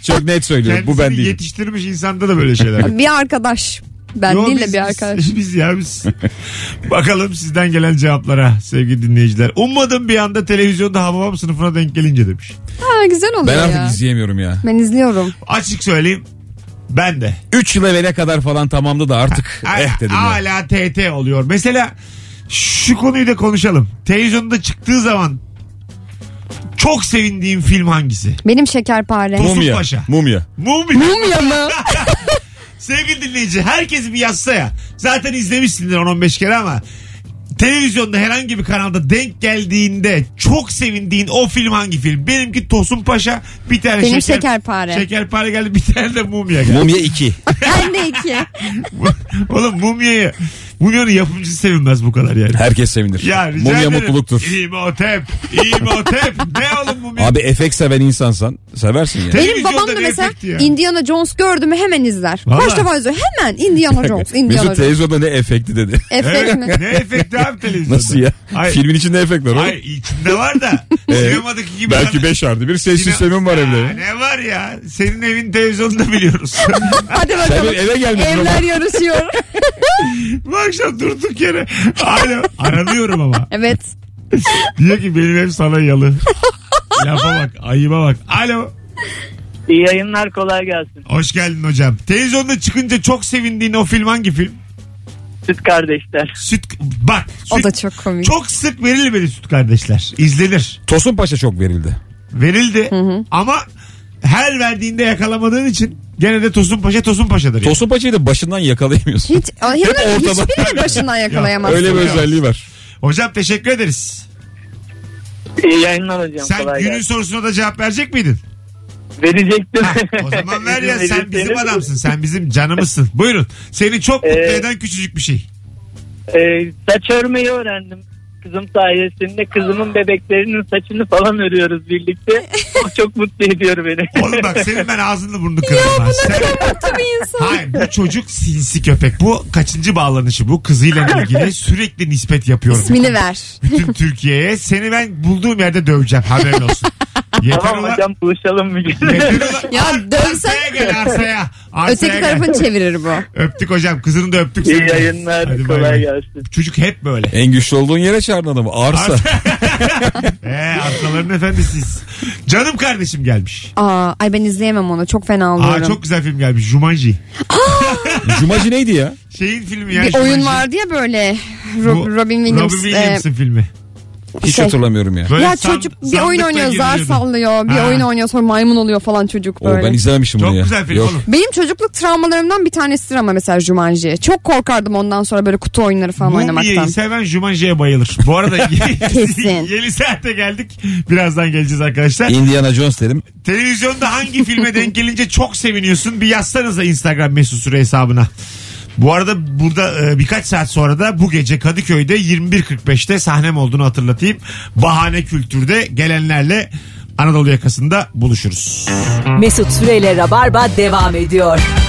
S4: Çok net söylüyorum. Bu ben
S2: kendisini
S4: değilim.
S2: yetiştirmiş insanda da böyle şeyler.
S3: Bir arkadaş. Ben
S2: Yo,
S3: değil de
S2: biz-
S3: bir arkadaş.
S2: Biz, biz ya biz. Bakalım sizden gelen cevaplara sevgili dinleyiciler. Ummadım bir anda televizyonda Hababam sınıfına denk gelince demiş.
S3: Ha, güzel oluyor
S4: Ben
S3: ya.
S4: artık izleyemiyorum ya.
S3: Ben izliyorum.
S2: Açık söyleyeyim ben de.
S4: 3 yıl evvele kadar falan tamamdı da artık eh dedim ya.
S2: Hala TT oluyor. Mesela şu konuyu da konuşalım. Televizyonda çıktığı zaman çok sevindiğim film hangisi?
S3: Benim şekerpare.
S2: Tosun
S4: Mumya.
S2: Paşa.
S4: Mumya.
S2: Mumya.
S3: Mumya mı?
S2: Sevgili dinleyici herkes bir yazsa ya. Zaten izlemişsindir 10-15 kere ama televizyonda herhangi bir kanalda denk geldiğinde çok sevindiğin o film hangi film? Benimki Tosun Paşa bir tane
S3: Benim
S2: şeker,
S3: şekerpare.
S2: Şekerpare geldi bir tane de mumya geldi.
S4: Mumya 2.
S3: ben de iki.
S2: Oğlum mumyayı mumyanın yapımcısı sevinmez bu kadar yani.
S4: Herkes sevinir.
S2: Ya rica
S4: Mumya
S2: ederim.
S4: mutluluktur.
S2: İmhotep, İmhotep. ne oğlum mumya?
S4: Abi efekt seven insansan seversin ya.
S3: Benim babam da
S2: Televizyonda ne
S3: mesela
S2: efekti ya?
S3: Indiana Jones gördü mü hemen izler.
S2: Vallahi.
S3: Kaç defa izliyor? Hemen Indiana Jones. Indiana
S4: Mesut
S3: Jones.
S4: televizyonda ne efekti dedi.
S3: Efekt
S2: Evet,
S3: mi?
S2: ne efekti abi televizyonda?
S4: Nasıl ya?
S2: Hayır.
S4: Filmin içinde efekt var
S2: Hayır
S4: oğlum.
S2: içinde var da sinemadaki gibi.
S4: Belki 5 artı bir ses
S2: Sine-
S4: sistemim var
S2: Ya
S4: evde.
S2: Ne var ya? Senin evin televizyonunda biliyoruz.
S3: Hadi
S4: Sen
S3: bakalım.
S4: benim eve gelmedin ama.
S3: Evler yarışıyor.
S2: Bu akşam durduk yere. Alo. Aranıyorum ama.
S3: evet.
S2: Diyor ki benim ev sana yalı. Lafa bak. Ayıba bak. Alo.
S7: İyi yayınlar kolay gelsin.
S2: Hoş geldin hocam. Televizyonda çıkınca çok sevindiğin o film hangi film?
S7: Süt kardeşler.
S2: Süt. Bak. Süt,
S3: O da çok komik.
S2: Çok sık verilmedi Süt Kardeşler. İzlenir.
S4: Tosun Paşa çok verildi.
S2: Verildi. Ama her verdiğinde yakalamadığın için gene de Tosun Paşa Tosun Paşa'dır. yani.
S4: Tosun Paşa'yı da başından yakalayamıyorsun.
S3: Hiç, hiçbir-
S4: ortada.
S3: hiçbirini başından yakalayamazsın.
S4: Öyle bir özelliği var.
S2: Hocam teşekkür ederiz.
S7: İyi yayınlar hocam
S2: Sen günün sorusuna da cevap verecek miydin?
S7: Verecektim.
S2: Ha, o zaman ver ya sen bizim adamsın. Sen bizim canımızsın. Buyurun. Seni çok mutlu
S7: Ee,
S2: eden küçücük bir şey.
S7: Ee, saç örmeyi öğrendim kızım sayesinde. Kızımın bebeklerinin saçını falan örüyoruz birlikte. O çok mutlu ediyor beni.
S2: Oğlum bak senin ben ağzını burnunu kırarım. ha. Sen-
S3: Mutlu bir insan.
S2: Hayır bu çocuk sinsi köpek. Bu kaçıncı bağlanışı bu kızıyla ilgili sürekli nispet yapıyorum.
S3: İsmini ver.
S2: Bütün Türkiye'ye seni ben bulduğum yerde döveceğim haberin olsun. Yeter
S7: tamam
S2: ulan.
S7: hocam buluşalım bir gün.
S2: Yeter ulan.
S3: Ya
S2: Ar-
S3: dövsen-
S2: Arsaya gel arsaya. Arsaya
S3: Öteki
S2: gel.
S3: tarafını çevirir bu.
S2: Öptük hocam kızını da öptük.
S7: İyi
S2: seni de.
S7: yayınlar
S2: Hadi bay bay.
S7: kolay gelsin.
S2: Çocuk hep böyle.
S4: En güçlü olduğun yere çağırdın adamı. Arsa.
S2: Ee, arsaların efendisiz. Canım kardeşim gelmiş.
S3: Aa, ay ben izleyemem onu. Çok fena oluyorum.
S2: Aa, çok güzel film gelmiş. Jumanji.
S4: Cumacı neydi ya?
S2: Şeyin filmi ya.
S3: bir oyun
S2: Jumanji.
S3: vardı ya böyle
S2: Bu
S3: Rob- Robin Williams.
S2: Robin
S3: e,
S2: Williams'ın filmi.
S4: Hiç
S3: Şey-
S4: hatırlamıyorum ya.
S2: Böyle
S3: ya
S2: san-
S3: çocuk bir
S2: sandıkla
S3: oyun oynuyor zar
S2: geziyordun.
S3: sallıyor. Bir
S2: Ha.
S3: oyun oynuyor sonra maymun oluyor falan çocuk
S4: O
S3: böyle.
S4: ben izlememişim
S2: Çok
S4: bunu ya.
S2: güzel film
S4: Yok.
S2: oğlum.
S3: Benim çocukluk travmalarımdan bir tanesidir ama mesela Jumanji. Çok korkardım ondan sonra böyle kutu oyunları falan oynamaktan.
S2: Mumiye'yi seven Jumanji'ye bayılır. Bu arada
S3: Kesin.
S2: yeni saate geldik. Birazdan geleceğiz arkadaşlar.
S4: Indiana Jones derim.
S2: Televizyonda hangi filme denk gelince çok seviniyorsun bir yazsanıza Instagram mesut süre hesabına. Bu arada burada e, birkaç saat sonra da bu gece Kadıköy'de 21.45'te sahnem olduğunu hatırlatayım. Bahane Kültür'de gelenlerle Anadolu yakasında buluşuruz.
S1: Mesut Süreyle Rabarba devam ediyor.